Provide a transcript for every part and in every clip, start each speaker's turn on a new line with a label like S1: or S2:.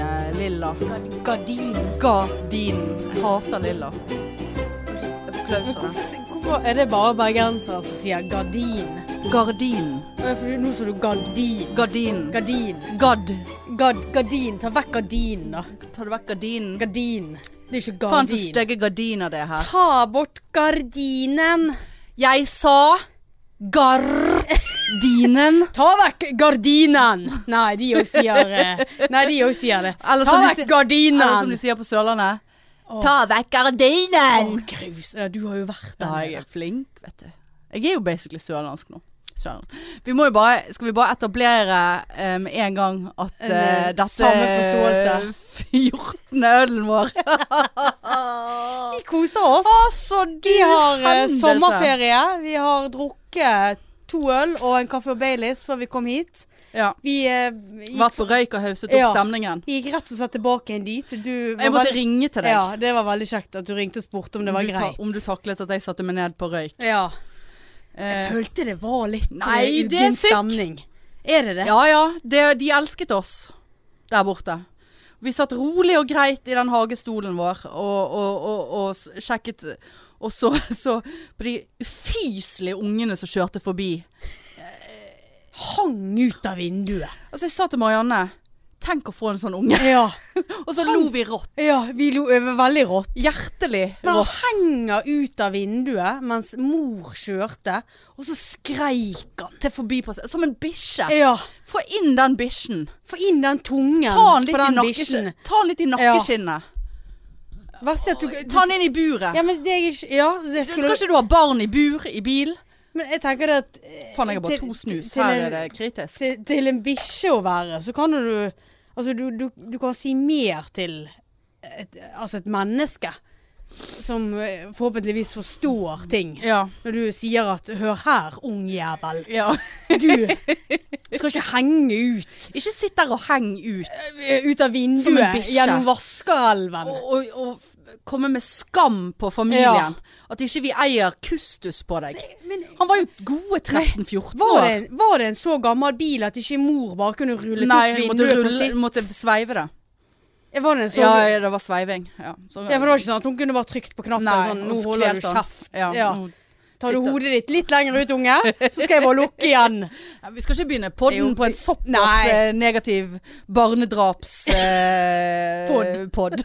S1: Gardiner. Gardin. Gardin. Jeg hater lilla. sånn? Jeg får
S2: Men
S1: klauser.
S2: hvorfor, si- hvorfor er det bare bergensere som sier gardin?
S1: Gardin.
S2: Å, For nå sa du gardin.
S1: Gardin.
S2: Gardin.
S1: Gadd.
S2: Gard, gardin. Ta vekk gardinen, da.
S1: Tar du vekk gardinen?
S2: Gardin. Det er ikke
S1: Faen så
S2: gardin.
S1: stygge gardiner det er her.
S2: Ta bort gardinen.
S1: Jeg sa gardinen.
S2: Ta vekk gardinen! Nei, de òg sier eh, Nei, de òg sier det.
S1: Eller
S2: Ta
S1: som de
S2: vekk
S1: sier- Eller som
S2: gardinen!
S1: de sier på Sørlandet. Ta vekk gardinen!
S2: Grus. Ja, Du har jo vært
S1: Da
S2: der.
S1: er jeg flink, vet du. Jeg er jo basically sørlandsk nå. Sørland. Vi må jo bare, skal vi bare etablere eh, med en gang at
S2: En,
S1: eh,
S2: eh,
S1: dette
S2: samme forståelse.
S1: 14. ølen vår
S2: Vi koser oss.
S1: Altså, du
S2: Vi har eh,
S1: hendelse.
S2: sommerferie. Vi har drukket to øl og en kaffe og Baileys før vi kom hit.
S1: Ja.
S2: Vi, eh,
S1: Vært
S2: gikk,
S1: på røyk og hauset opp
S2: Ja.
S1: stemningen.
S2: vi gikk rett og slett tilbake igjen dit. Du
S1: Jeg måtte ringe til deg.
S2: Ja, det var veldig kjekt at du ringte og spurte om det var
S1: Om du ta-
S2: greit.
S1: Om du taklet at jeg satte meg ned på røyk.
S2: ja. Jeg
S1: Eh,
S2: følte det var litt eh,
S1: Nei, det er
S2: uggen
S1: sykt.
S2: stemning. Er det det?
S1: Ja ja, det, de elsket oss der borte. Vi satt rolig og greit i den hagestolen vår og, og, og, og s- sjekket Og så, så på de ufyselige ungene som kjørte forbi.
S2: Hang ut av vinduet.
S1: Altså, jeg sa til Marianne Tenk å få en sånn unge.
S2: Ja.
S1: Og så lo vi rått.
S2: ja vi lo det var veldig rått.
S1: Hjertelig
S2: Men han
S1: rått.
S2: henger ut av vinduet mens mor kjørte, og så skreik han.
S1: Til forbipassering. Som en bikkje.
S2: Ja.
S1: Få inn den bikkjen.
S2: Få inn den tungen
S1: Ta han litt,
S2: på
S1: i
S2: den
S1: nakkeskin-
S2: bikkjen.
S1: ta han litt i nakkeskinnet.
S2: Verst er at du,
S1: Ta han inn i buret.
S2: Ja, men det er jeg ikke Ja, det
S1: Skal
S2: skulle
S1: ikke du ha barn i bur i bil?
S2: Men jeg tenker det at eh,
S1: Faen, jeg har bare
S2: til-
S1: to snus.
S2: til
S1: Her
S2: en-
S1: er det kritisk.
S2: Til, til en bikkje å være, så kan jo du Altså, du, du, du kan si mer til et, altså et menneske som eh, forhåpentligvis forstår ting.
S1: Ja.
S2: Når du sier at 'hør her, ung jævel',
S1: ja.
S2: du skal ikke henge ut.
S1: Ikke sitt der og heng ut.
S2: eh, Ut
S1: Som en
S2: av vinduet,
S1: bikkje.
S2: gjennom vaskerelven.
S1: Og, og, og f- komme med skam på familien. At ikke vi eier kustus på deg.
S2: Men
S1: Han var jo gode 13-14
S2: var
S1: år.
S2: det, var det en så gammel bil at ikke mor bare kunne rullet
S1: Nei,
S2: opp
S1: måtte,
S2: vinduet på
S1: rulle,
S2: sitt?
S1: måtte sveive det.
S2: Var det en så
S1: Ja, ja, det var sveiving. Ja, så,
S2: Ja, for det var ikke sånn at hun kunne bare trykt på knappen
S1: Nei, altså
S2: sånn,
S1: og
S2: nå
S1: så
S2: holder du
S1: kvelte han.
S2: kjeft.
S1: Ja,
S2: Ja.
S1: nå-
S2: Tar du
S1: sitter-
S2: hodet ditt litt lenger ut, unge, så skal jeg bare lukke igjen.
S1: Nei, Vi skal ikke begynne
S2: Jo,
S1: podden på en
S2: vi-
S1: såpass
S2: Nei.
S1: eh, negativ barnedraps-pod.
S2: Podd.
S1: pod.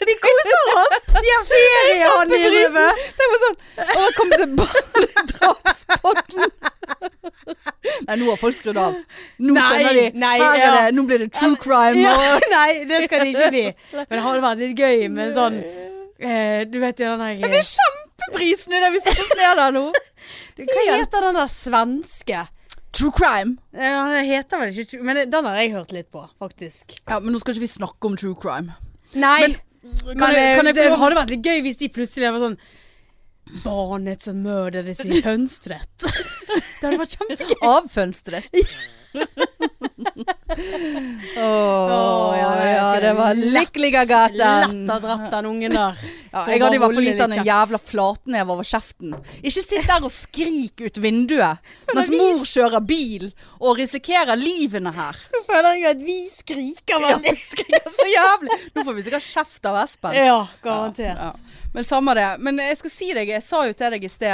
S2: vi, koser oss! Vi har
S1: Jeg
S2: ferie,
S1: satt på brisen. Det var sånn Å, kom til barnedrapspodden. Nei, nå har folk skrudd av. Nå
S2: Nei,
S1: skjønner de.
S2: nei,
S1: Her er
S2: ja.
S1: det, nå blir det true crime.
S2: Ja,
S1: og-
S2: nei, det skal det ikke bli. Men det hadde vært litt gøy med en sånn eh, Du vet jo den der
S1: Det
S2: eh,
S1: er kjempeprisen i det vi sitter ned der nå.
S2: Hva heter den der svenske?
S1: True crime.
S2: Eh, Han heter vel ikke Men den har jeg hørt litt på, faktisk.
S1: Ja, men nå skal ikke vi snakke om true crime.
S2: Nei.
S1: Men-
S2: Men,
S1: Kan jeg, kan jeg
S2: det
S1: få lov?
S2: hadde vært litt gøy hvis de plutselig var sånn Barnet som mørdes i fønsteret. det hadde vært kjempegøy.
S1: Avfønstret. Å ja, ja, det var Lykkeliggagaten.
S2: Lett å ha drept den ungen der.
S1: Ja,
S2: For
S1: jeg
S2: å
S1: hadde i hvert
S2: bare
S1: fall
S2: holde
S1: gitt han
S2: litt
S1: en jævla flatneve over kjeften. Ikke sitt der og skrik ut vinduet mens
S2: det er vi-
S1: mor kjører bil og risikerer livene her.
S2: Nå føler jeg at vi skriker
S1: Ja, det skriker så jævlig. Nå får vi sikkert kjeft av Espen.
S2: Ja, garantert.
S1: Ja. Men samme det. Men jeg skal si deg, jeg sa jo til deg i sted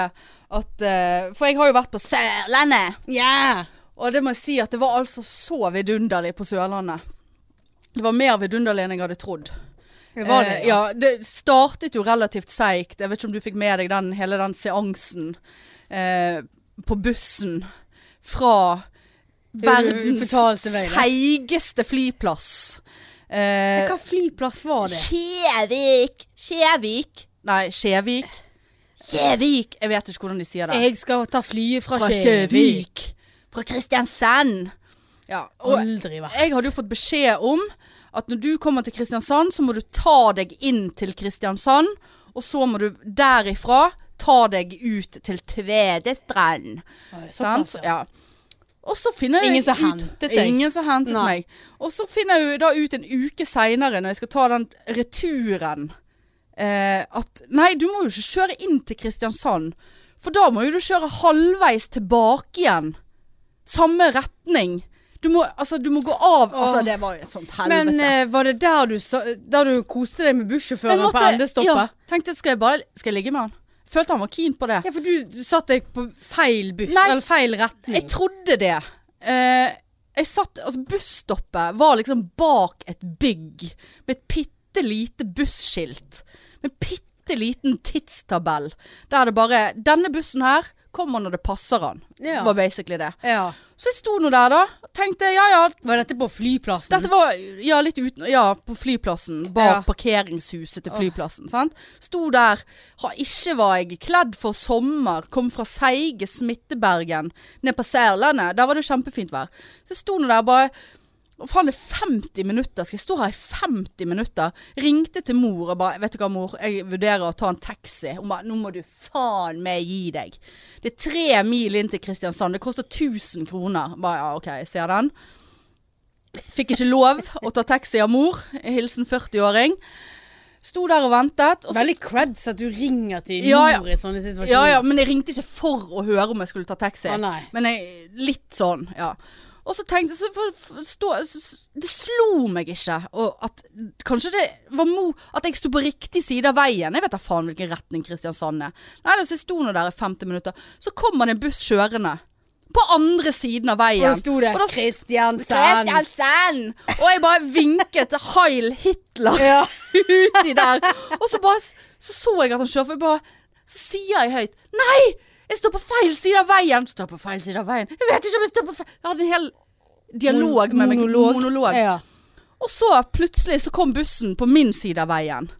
S1: at eh, For jeg har jo vært på Sørlandet.
S2: Ja.
S1: Og det må jeg si at det var altså så vidunderlig på Sørlandet. Det var mer vidunderlig enn jeg hadde trodd.
S2: Det var det.
S1: Eh, ja. Det startet jo relativt seigt. Jeg vet ikke om du fikk med deg den, hele den seansen eh, på bussen fra
S2: du
S1: verdens
S2: fortalte meg det.
S1: seigeste flyplass. Eh,
S2: Hva flyplass var det?
S1: Skjevik! Skjevik! Nei, Skjevik. Skjevik! Jeg vet ikke hvordan de sier det.
S2: Jeg skal ta flyet fra
S1: Fra
S2: Kjevik.
S1: Skjevik. Fra Kristiansand. Ja, og
S2: Aldri vært.
S1: jeg hadde jo fått beskjed om at når du kommer til Kristiansand, så må du ta deg inn til Kristiansand, og så må du derifra ta deg ut til Tvedestrand.
S2: Oi, såpass,
S1: Sant? Ja. Og så finner jeg
S2: Ingen som
S1: ut-
S2: hentet deg?
S1: Ingen som hentet
S2: Nei.
S1: meg. Og så finner jeg jo da ut en uke seinere, når jeg skal ta den returen, eh, at nei, du må jo ikke kjøre inn til Kristiansand. For da må jo du kjøre halvveis tilbake igjen. Samme retning. Du må, altså, du må gå av Altså,
S2: Åh.
S1: det var jo et sånt helvete.
S2: Men eh, var det der du, sa, der du koste deg med
S1: Jeg
S2: bussjåføren
S1: måtte-
S2: på endestoppet?
S1: Ja, tenkte skal jeg bare Skal jeg ligge med han? Følte han var keen på det.
S2: Ja, for du, du satt deg på feil buss,
S1: Nei.
S2: eller feil
S1: Jeg
S2: retning.
S1: trodde det. Eh, jeg satt, altså Busstoppet var liksom bak et bygg med et bitte lite busskilt. Med en bitte liten tidstabell. Der det bare 'Denne bussen her kommer når det passer han'.
S2: Ja.
S1: var basically det.
S2: Ja.
S1: Så jeg sto nå der, da. Tenkte ja ja.
S2: Var dette på flyplassen?
S1: Dette var ja, litt uten, ja, på flyplassen. Bak
S2: Ja.
S1: parkeringshuset til flyplassen. Sant? Sto der. Ha, ikke var jeg kledd for sommer. Kom fra Seige, Smittebergen, ned på Særlandet. Der var det kjempefint vær. Så jeg sto nå der bare «Å, Faen, det er 50 minutter. Skal jeg stå her i 50 minutter? Ringte til mor og bare Vet du hva, mor, jeg vurderer å ta en taxi. Hun bare Nå må du faen meg gi deg. Det er tre mil inn til Kristiansand. Det koster 1000 kroner. Bare ja, OK, jeg ser den. Fikk ikke lov å ta taxi av mor. Hilsen 40-åring. Sto der og ventet. Og så,
S2: Veldig creds at du ringer til mor
S1: Ja, ja.
S2: i sånne situasjoner.
S1: ja, ja, men jeg ringte ikke for å høre om jeg skulle ta taxi.
S2: Å, nei.
S1: men jeg, litt sånn, ja. Og så tenkte jeg så for, for, stå, s- s- Det slo meg ikke og at kanskje det var mo At jeg sto på riktig side av veien. Jeg vet da faen hvilken retning Kristiansand er. Nei, altså, jeg sto nå der i 50 minutter. Så kommer det en buss kjørende. På andre siden av veien.
S2: Og da sto det
S1: Og da sto
S2: Kristiansen.
S1: Kristiansen. Og jeg bare vinket Heil Hitler
S2: Ja.
S1: uti der. Og så bare så, så jeg at han kjører, for jeg bare Så sier jeg høyt Nei! Jeg står på feil side av veien! Står på feil side av veien. Jeg vet ikke om jeg står på feil Jeg hadde en hel dialog med meg.
S2: Monolog.
S1: monolog.
S2: Ja.
S1: Og så plutselig så kom bussen på min side av veien.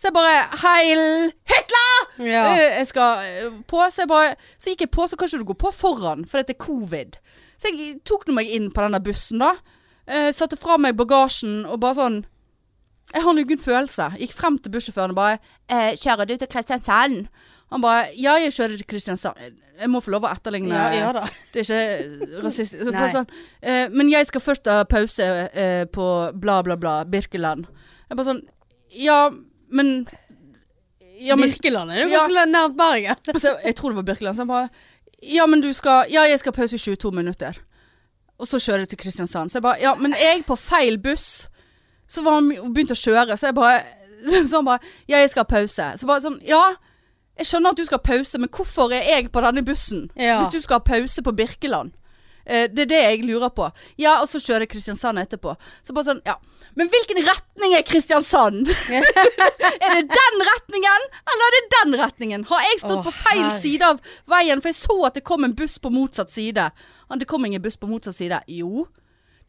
S1: Så jeg bare Heil Hitler!
S2: Ja.
S1: Eh, Jeg skal eh, på, så jeg bare Så gikk jeg på, så kan ikke du gå på foran, for dette er covid. Så jeg tok nå meg inn på denne bussen, da. Eh, satte fra meg bagasjen og bare sånn Jeg har nå ingen følelse. Gikk frem til bussjåføren og bare eh, 'Kjære, du er til Kristiansand?' Han bare 'Ja, jeg kjører til Kristiansand'. Jeg må få lov å etterligne
S2: Ja, ja da.
S1: det er ikke rasistisk. Så
S2: Nei.
S1: bare sånn, eh, men jeg skal først ha pause eh, på bla, bla, bla, Birkeland. Jeg bare sånn Ja, men ja, men,
S2: Birkeland er jo
S1: Ja.
S2: ganske nært Bergen.
S1: altså, Jeg tror det var Birkeland. Så jeg bare Ja, men du skal Ja, jeg skal ha pause i 22 minutter. Og så kjører jeg til Kristiansand. Så jeg bare Ja, men jeg på feil buss. Så var han og begynte å kjøre, så jeg bare Så han bare Ja, jeg skal ha pause. Så bare sånn Ja. Jeg skjønner at du skal ha pause, men hvorfor er jeg på denne bussen?
S2: Ja.
S1: Hvis du skal ha pause på Birkeland. Eh, det er det jeg lurer på. Ja, og så kjører jeg Kristiansand etterpå. Så bare sånn, ja. Men hvilken retning er Kristiansand? er det den retningen, eller er det den retningen? Har jeg stått
S2: Å,
S1: på feil
S2: herre.
S1: side av veien, for jeg så at det kom en buss på motsatt side? Han, Det kom ingen buss på motsatt side. Jo.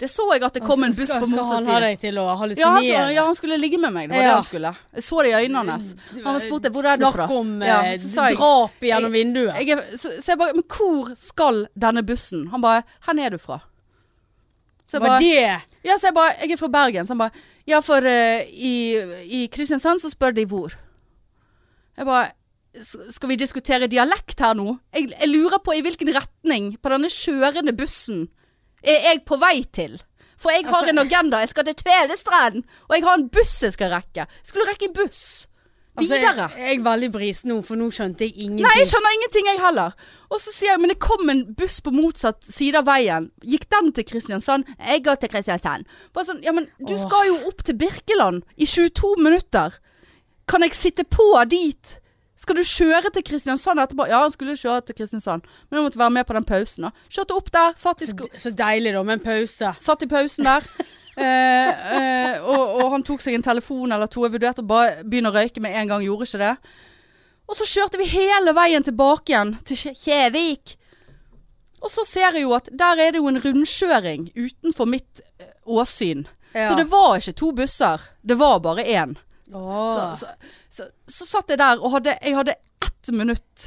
S1: Det så jeg at det kom en
S2: Så
S1: buss
S2: skal-
S1: på motsatt
S2: Skal han ha
S1: side.
S2: deg til å
S1: Ja han,
S2: hallusinere?
S1: sa- ja, han skulle ligge med meg. Det var
S2: Ja. Mm.
S1: det han skulle. Jeg så det i øynene hans. Han spurte hvor er du fra?
S2: Snakk om
S1: Ja,
S2: eh,
S1: så sa jeg-
S2: drap gjennom vinduet.
S1: jeg er, så, så jeg bare Men hvor skal denne bussen? Han bare Hvor er du fra? Så jeg
S2: var
S1: bare,
S2: det
S1: ja, så jeg bare Jeg er fra Bergen. Så han bare Ja, for eh, i, i Kristiansand så spør de hvor. Jeg bare "S- Skal vi diskutere dialekt her nå? Jeg, jeg lurer på i hvilken retning på denne kjørende bussen er jeg på vei til? For jeg har
S2: Altså-
S1: en agenda. Jeg skal til Tvedestrand. Og jeg har en buss jeg skal rekke. Jeg skulle rekke en buss.
S2: altså,
S1: Videre.
S2: jeg, jeg er veldig brisen nå, for nå skjønte jeg ingenting.
S1: Nei, jeg skjønner ingenting jeg heller. Og så sier jeg, men det kom en buss på motsatt side av veien. Gikk den til Kristiansand? Jeg går til Kristiansand. Bare sånn, ja, men du
S2: Åh.
S1: skal jo opp til Birkeland i 22 minutter. Kan jeg sitte på dit? Skal du kjøre til Kristiansand etterpå? Ja, han skulle kjøre til Kristiansand, men han måtte være med på den pausen da. Kjørte opp der, satt i, sko
S2: Så deilig, da, med en pause.
S1: satt i pausen der. Eh, eh, og, og han tok seg en telefon eller to. Jeg vurderte å bare begynne å røyke med en gang, gjorde ikke det. Og så kjørte vi hele veien tilbake igjen til Kje- Kjevik. Og så ser jeg jo at der er det jo en rundkjøring utenfor mitt eh, åsyn.
S2: Ja.
S1: Så det var ikke to busser, det var bare én.
S2: Åh.
S1: Så, så, så, så satt jeg der og hadde, jeg hadde ett minutt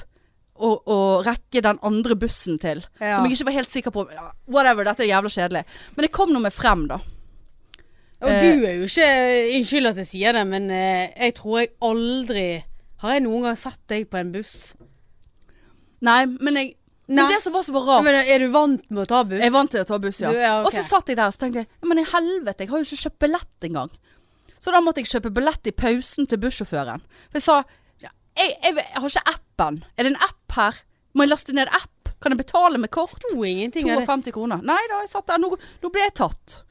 S1: å, å rekke den andre bussen til.
S2: Ja.
S1: Som jeg ikke var helt sikker på. Ja, Whatever, dette er jævla kjedelig. Men jeg kom nå meg frem, da. Eh.
S2: Og du er jo ikke Unnskyld at jeg sier det, men eh, jeg tror jeg aldri Har jeg noen gang sett deg på en buss?
S1: Nei, men jeg
S2: Nei.
S1: Men det som var så var rart
S2: Men er du vant med å ta buss?
S1: Jeg er vant til å ta buss, ja.
S2: Du- ja, ok.
S1: Og så satt jeg der og tenkte jeg, «Ja, Men i helvete, jeg har jo ikke kjøpt billett engang. Så da måtte jeg kjøpe billett i pausen til bussjåføren. For jeg sa ja, jeg, jeg, jeg har ikke appen. Er det en app her? Må jeg laste ned app? Kan jeg betale med kort?
S2: Sto ingenting av det.
S1: 52 kroner. Nei da, jeg satt der. Nå, nå ble jeg tatt.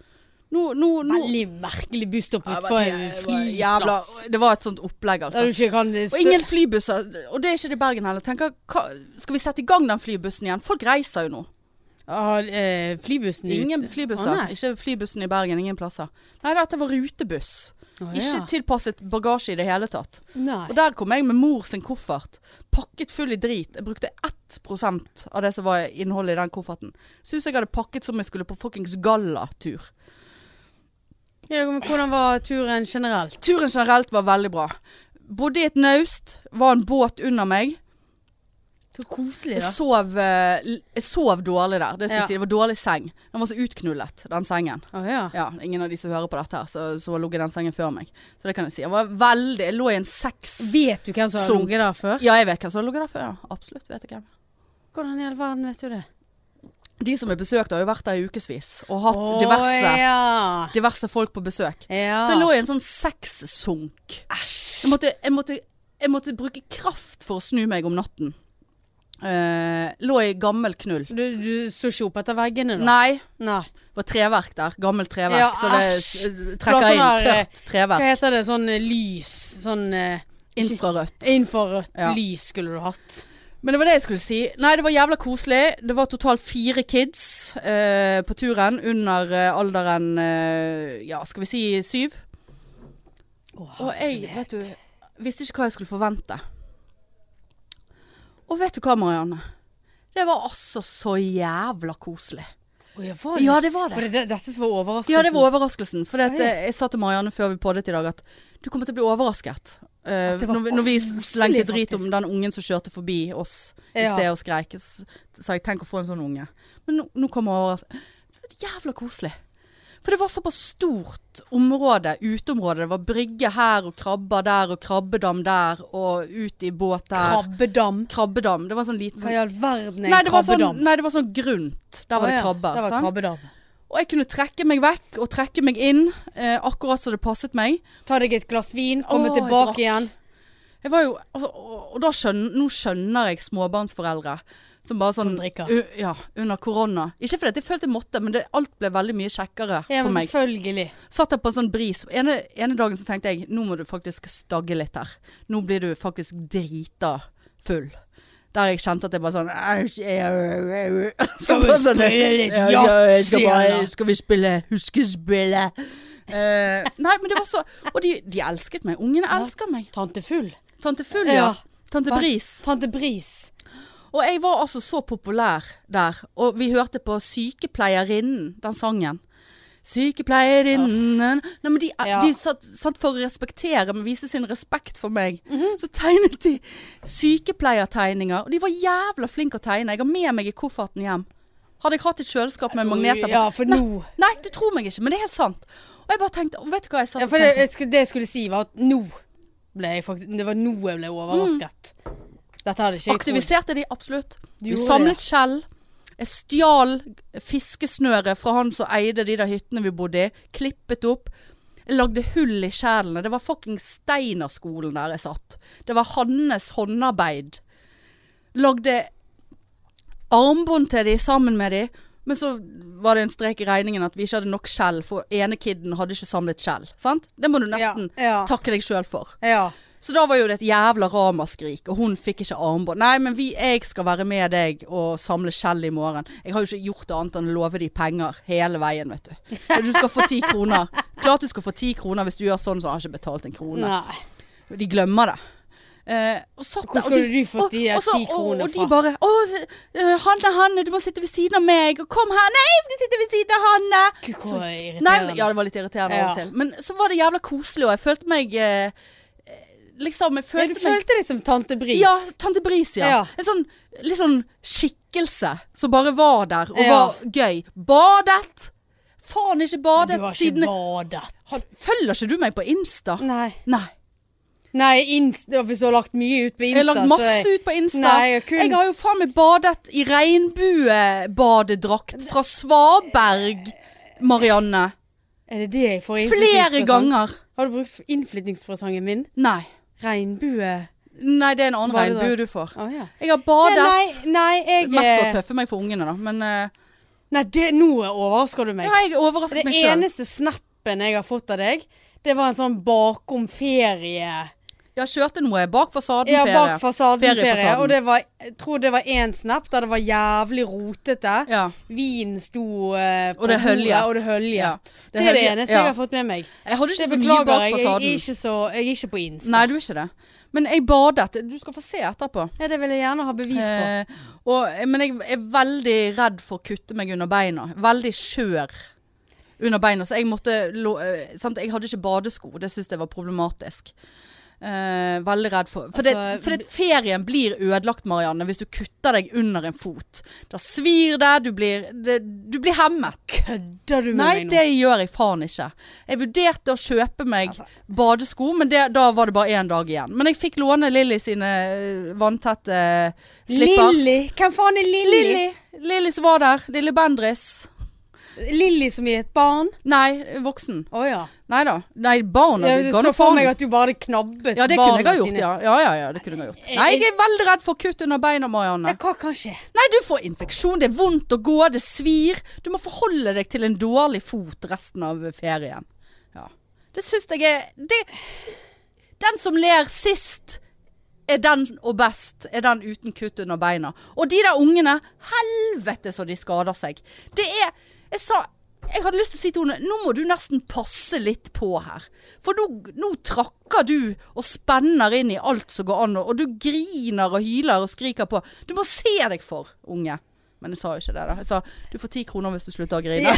S1: Nå, nå, nå.
S2: Veldig merkelig busstopp
S1: Ja, men
S2: utenfor en
S1: det var jævla,
S2: flyplass.
S1: det var et sånt opplegg,
S2: Der
S1: altså.
S2: du ikke kan
S1: Og ingen flybusser. Og det er ikke det i Bergen heller. Tenker, hva, skal vi sette i gang den flybussen igjen? Folk reiser jo nå.
S2: Ah, eh, flybussen ute.
S1: Ingen
S2: Å,
S1: flybusser.
S2: nei.
S1: ikke flybussen i Bergen, ingen plasser. Nei, dette var rutebuss.
S2: Å,
S1: Ikke
S2: ja.
S1: tilpasset bagasje i det hele tatt.
S2: Nei.
S1: Og der kom jeg med mor sin koffert, pakket full i drit. Jeg brukte 1 av det som var innholdet i den kofferten. Syns jeg hadde pakket som jeg skulle på fuckings gallatur.
S2: Ja, men hvordan var turen generelt?
S1: Turen generelt var veldig bra. Bodde i et naust, var en båt under meg.
S2: Så koselig,
S1: Jeg
S2: da.
S1: sov, eh, l- jeg sov dårlig der. Det, skal
S2: Ja.
S1: jeg si. det var dårlig seng. Den var så utknullet, den sengen.
S2: Å ja.
S1: Ja, ingen av de som hører på dette her, så, så lå i den sengen før meg. Så det kan jeg si. Jeg var veldig Jeg lå i en seks
S2: Vet du hvem som har
S1: Sunk.
S2: ligget der før?
S1: Ja, jeg vet hvem som har ligget der før. Ja. Absolutt vet jeg hvem.
S2: Hvordan i all verden vet du det?
S1: De som er besøkt, har jo vært der i ukevis og hatt
S2: Å,
S1: diverse,
S2: ja.
S1: diverse folk på besøk.
S2: ja.
S1: Så jeg lå i en sånn sexsunk. Jeg
S2: Æsj.
S1: måtte, jeg, måtte, jeg måtte bruke kraft for å snu meg om natten. Eh, lå i gammel knull.
S2: Du, du så ikke opp etter veggene, da?
S1: Nei,
S2: Nei.
S1: det var treverk der. Gammelt treverk.
S2: Ja,
S1: så det
S2: æsj.
S1: eh,
S2: Det var
S1: trekker inn
S2: sånn der, eh,
S1: tørt
S2: Hva
S1: treverk.
S2: heter det? Sånn eh, lys Sånn eh,
S1: Infrarødt.
S2: infrarødt
S1: Ja.
S2: lys skulle du hatt.
S1: Men det var det jeg skulle si. Nei, det var jævla koselig. Det var totalt fire kids eh, på turen under eh, alderen eh, Ja, skal vi si syv? Og jeg vet du, visste ikke hva jeg skulle forvente. Og vet du hva, Marianne? Det var altså så jævla koselig.
S2: Å, ja, var det?
S1: Ja, det var det.
S2: Var det det dette som var overraskelsen?
S1: Ja, det var overraskelsen. For eh,
S2: Oi.
S1: jeg sa til Marianne før vi poddet i dag at du kommer til å bli overrasket. Eh,
S2: At det var
S1: når, vi, når vi
S2: koselig,
S1: slengte drit om
S2: faktisk.
S1: den ungen som kjørte forbi oss i
S2: Ja.
S1: sted og skreik, så sa jeg tenk å få en sånn unge. Men nå, nå kommer overraskelsen. Det var Jævla koselig. For det var såpass stort område, uteområde. Det var brygge her og krabber der og krabbedam der og ut i båt der.
S2: Krabbedam.
S1: krabbedam. Det var sånn liten
S2: Hva i all verden er
S1: Nei,
S2: en
S1: det var sånn,
S2: krabbedam?
S1: nei, det var sånn grunt. Der var
S2: Å,
S1: det
S2: ja,
S1: krabber.
S2: Der var
S1: sant?
S2: krabbedam.
S1: Og jeg kunne trekke meg vekk og trekke meg inn, eh, akkurat som det passet meg.
S2: Ta deg et glass vin,
S1: Å,
S2: komme
S1: jeg drakk.
S2: tilbake igjen.
S1: Jeg var jo, og, og, og da skjønner, nå skjønner jeg småbarnsforeldre som bare sånn
S2: Som drikker.
S1: u, Ja, under korona. Ikke fordi at jeg følte jeg måtte, men det, alt ble veldig mye kjekkere
S2: Ja,
S1: for
S2: men
S1: meg.
S2: selvfølgelig.
S1: Satt jeg på en sånn bris. Ene, ene dagen så tenkte jeg nå må du faktisk stagge litt her. Nå blir du faktisk drita full. Der jeg kjente at jeg bare sånn «Æsj, jeg-
S2: Skal vi
S1: bare sånn-
S2: spille litt
S1: Ja, ja, jeg skal
S2: yatzy,
S1: bare-
S2: eller?
S1: Skal vi spille huskespillet? Eh, nei, men det var så Og de, de elsket meg. Ungene elsker meg.
S2: Tante Full.
S1: Tante Full,
S2: Ja.
S1: ja. Tante
S2: Hva?
S1: Bris.
S2: Tante Bris.
S1: Og jeg var altså så populær der, og vi hørte på Sykepleierinnen, den sangen. Sykepleierinnen Nei, men de,
S2: Ja.
S1: de satt, satt for å respektere, men vise sin respekt for meg.
S2: Mhm.
S1: Så tegnet de sykepleiertegninger, og de var jævla flinke å tegne. Jeg har med meg i kofferten hjem. Hadde jeg hatt et kjøleskap med magneter på
S2: Ja, for
S1: nei,
S2: nå
S1: nei, du tror meg ikke, men det er helt sant. Og jeg bare tenkte og Vet du hva jeg satt
S2: ja,
S1: og
S2: for det,
S1: tenkte?
S2: jeg skulle, det jeg skulle si, var at nå ble jeg faktisk Det var nå jeg
S1: Mm.
S2: ble overrasket. Dette hadde ikke jeg trodd.
S1: Aktiviserte de, absolutt.
S2: Du
S1: Vi
S2: gjorde
S1: samlet
S2: det.
S1: skjell. Jeg stjal fiskesnøret fra han som eide de der hyttene vi bodde i. Klippet opp. Jeg lagde hull i skjellene. Det var fuckings Steinerskolen der jeg satt. Det var Hannes håndarbeid. Lagde armbånd til de sammen med de. Men så var det en strek i regningen at vi ikke hadde nok skjell, for ene kiden hadde ikke samlet skjell. Sant? Det må du nesten
S2: ja.
S1: takke deg sjøl for.
S2: Ja.
S1: Så da var jo det et jævla ramaskrik, og hun fikk ikke armbånd. Nei, men vi, jeg skal være med deg og samle skjell i morgen. Jeg har jo ikke gjort annet enn å love de penger hele veien, vet du. Du skal få ti kroner. Klart du skal få ti kroner hvis du gjør sånn, så har jeg ikke betalt en krone.
S2: Nei.
S1: De glemmer det. Eh, og satt
S2: Hvor
S1: der, og
S2: skulle
S1: de-
S2: du fått de
S1: og- og så-
S2: 10 kroner
S1: Og, og
S2: fra?
S1: de bare Å, så- eh, Hanne, Hanne, du må sitte ved siden av meg. Og kom her. Nei, jeg skal sitte ved siden av Hanne.
S2: Gud,
S1: Så-
S2: hvor irriterende.
S1: Nei, men- ja, det var litt irriterende av og
S2: Ja.
S1: til. Men så var det jævla koselig, og jeg følte meg eh, eh, Liksom, jeg
S2: Ja,
S1: følte
S2: du
S1: meg
S2: følte deg som tante Bris.
S1: ja, Tante Bris, ja.
S2: Ja.
S1: En sånn, litt sånn skikkelse som bare var der og
S2: Ja.
S1: var gøy. Badet! Faen, ikke badet
S2: du har
S1: siden
S2: ikke badet.
S1: Har- Følger ikke du meg på Insta?
S2: Nei.
S1: Nei.
S2: Nei, Insta, hvis du har lagt mye ut på Insta
S1: Jeg har lagt
S2: så
S1: masse ut på Insta.
S2: Nei, jeg kun-
S1: Jeg har jo faen meg badet i regnbuebadedrakt fra Svaberg, Marianne.
S2: Er det det jeg får
S1: Flere
S2: innflytningspresang?
S1: ganger.
S2: Har du brukt innflytningspresangen min?
S1: Nei.
S2: Regnbue
S1: Nei, det er en annen
S2: Badedrakt.
S1: regnbue du får.
S2: Å, ja.
S1: Jeg har
S2: Ja,
S1: badet.
S2: nei, nei, jeg
S1: Mest for å
S2: eh,
S1: tøffe meg for ungene, da. Men eh,
S2: Nei, det, nå overrasker du meg.
S1: ja, jeg overrasket
S2: Det
S1: meg sjøl.
S2: eneste snappen jeg har fått av deg, det var en sånn bakom ferie.
S1: Jeg kjørte noe bak fasaden.
S2: Ja,
S1: ferie.
S2: bak fasaden ferie.
S1: Feriefasaden.
S2: Og det var, jeg tror det var én snap der det var jævlig rotete.
S1: Ja.
S2: Vin sto eh, på
S1: Og det er
S2: bordet,
S1: høljet.
S2: og det høljet.
S1: Ja.
S2: Det, er det
S1: høljet-
S2: eneste
S1: ja.
S2: jeg har fått med meg.
S1: Jeg hadde
S2: Det
S1: ikke så mye
S2: beklager
S1: bak
S2: jeg. Jeg er
S1: fasaden.
S2: ikke, så, jeg er ikke på Insta.
S1: Nei, du er ikke det. Men jeg badet. Du skal få se etterpå.
S2: Ja, det vil jeg gjerne ha bevis på.
S1: Eh, og, men jeg er veldig redd for å kutte meg under beina. Veldig skjør under beina. Så jeg måtte lå- eh, sant? Jeg hadde ikke badesko. Det syntes jeg var problematisk. Eh, veldig redd for For, det,
S2: Altså,
S1: for det, ferien blir ødelagt, Marianne, hvis du kutter deg under en fot. Da svir det, du blir, det, du blir hemmet.
S2: Kødder du med
S1: Nei,
S2: meg nå?
S1: det gjør jeg faen ikke. Jeg vurderte å kjøpe meg
S2: Altså.
S1: badesko, men det, da var det bare én dag igjen. Men jeg fikk låne Lilly sine eh, vanntette eh, slippers.
S2: Lilly? Hvem faen er Lilly?
S1: Lilly. Lilly som var der. Lilly Bendris.
S2: Lilly som er et barn?
S1: Nei, voksen.
S2: Å ja.
S1: Nei da. Nei, barna.
S2: Jeg
S1: de ga
S2: så
S1: nå
S2: for
S1: faen.
S2: meg at du bare hadde knabbet
S1: Ja, det kunne jeg ha gjort, ja. ja, ja, ja det kunne jeg ha gjort.
S2: Jeg-
S1: Nei, jeg er veldig redd for kutt under beina, Marianne.
S2: Ja, hva kan skje?
S1: Nei, du får infeksjon, det er vondt å gå, det svir. Du må forholde deg til en dårlig fot resten av ferien. Ja. Det syns jeg er det, Den som ler sist, er den og best, er den uten kutt under beina. Og de der ungene, helvete så de skader seg. Det er Jeg sa jeg hadde lyst til å si til henne nå må du nesten passe litt på her. For nå, nå trakker du og spenner inn i alt som går an, og du griner og hyler og skriker på. Du må se deg for, unge. Men jeg sa jo ikke det, da. Jeg sa du får ti kroner hvis du slutter å grine.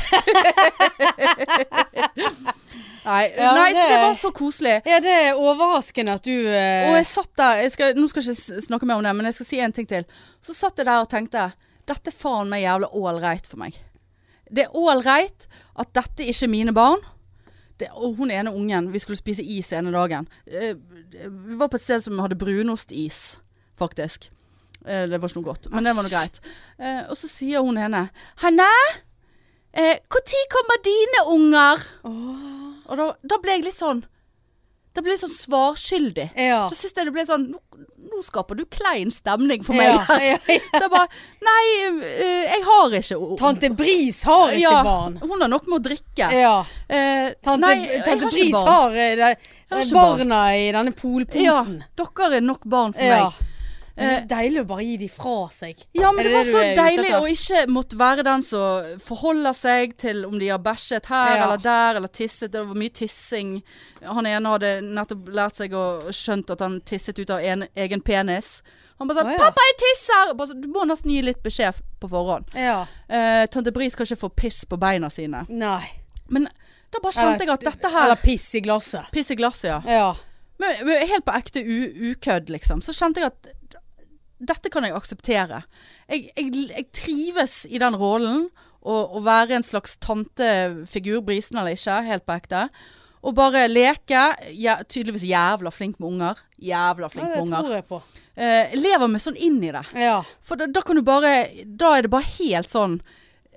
S1: nei,
S2: Ja,
S1: nei, så det
S2: det-
S1: var så koselig.
S2: Ja, det er overraskende at du eh,
S1: Og jeg satt der jeg skal, Nå skal jeg ikke s- snakke mer om det, men jeg skal si en ting til. Så satt jeg der og tenkte Dette er faen meg jævla ålreit for meg. Det er ålreit at dette er ikke er mine barn. Det, og hun ene ungen Vi skulle spise is ene dagen. Eh, Vi var på et sted som hadde brunostis, faktisk. Eh, Det var ikke noe godt, men det var noe greit. Eh, Og så sier hun ene Hanne, eh, når kommer dine unger? Og da, da ble jeg litt sånn Da ble jeg litt sånn svarskyldig.
S2: Ja.
S1: Så syns jeg det ble sånn nå, nå skaper du klein stemning for meg.
S2: Ja, ja, ja.
S1: Så jeg bare Nei, eh, jeg har ikke o-
S2: Tante Bris har ikke
S1: Ja,
S2: barn.
S1: Hun har nok med å drikke.
S2: Ja.
S1: Eh,
S2: Tante,
S1: nei, jeg
S2: Tante
S1: har ikke
S2: Bris
S1: barn.
S2: har eh, de,
S1: har ikke barn.
S2: barna i denne polposen.
S1: Ja, dere er nok barn for
S2: Ja.
S1: meg.
S2: Men Det er deilig å bare gi de fra seg.
S1: Ja, men
S2: Er
S1: det, var
S2: du
S1: så
S2: er ute
S1: deilig
S2: etter?
S1: å ikke måtte være den som forholder seg til om de har bæsjet her
S2: Ja.
S1: eller der, eller tisset. Det var mye tissing. Han ene hadde nettopp lært seg og skjønt at han tisset ut av en, egen penis. Han bare sa
S2: Å, ja.
S1: 'Pappa, jeg tisser!' Bare, så- du må nesten gi litt beskjed på forhånd.
S2: Ja.
S1: Eh, Tante Bris skal ikke få piss på beina sine.
S2: Nei.
S1: Men da bare kjente jeg at dette her
S2: Eller piss i glasset.
S1: Piss i glasset, ja.
S2: Ja.
S1: Men, men helt på ekte u- ukødd, liksom. Så kjente jeg at d- dette kan jeg akseptere. Jeg, jeg, jeg trives i den rollen. Å å være en slags tantefigur, brisen eller ikke, helt på ekte. Og bare leke. Ja, tydeligvis jævla flink med unger. Jævla
S2: ja,
S1: flink
S2: det
S1: med unger.
S2: tror jeg på.
S1: Eh, lever meg sånn inn i det.
S2: Ja.
S1: For da, da kan du bare Da er det bare helt sånn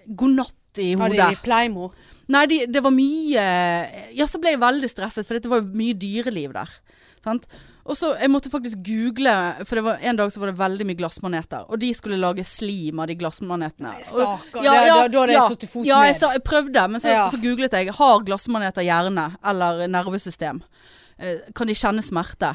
S1: god natt i
S2: Har
S1: hodet.
S2: de pleimo?
S1: Nei, de, det var mye Ja, så ble jeg veldig stresset, for det var jo mye dyreliv der. Sant? Og så Jeg måtte faktisk google, for det var, en dag så var det veldig mye glassmaneter. Og de skulle lage slim av de glassmanetene. Og-
S2: Stakkar, det- da- da hadde jeg satt i foten
S1: Ja, jeg,
S2: ned.
S1: sa, jeg prøvde, men så,
S2: Ja.
S1: så googlet jeg. Har glassmaneter hjerne eller nervesystem? Eh, Kan de kjenne smerte?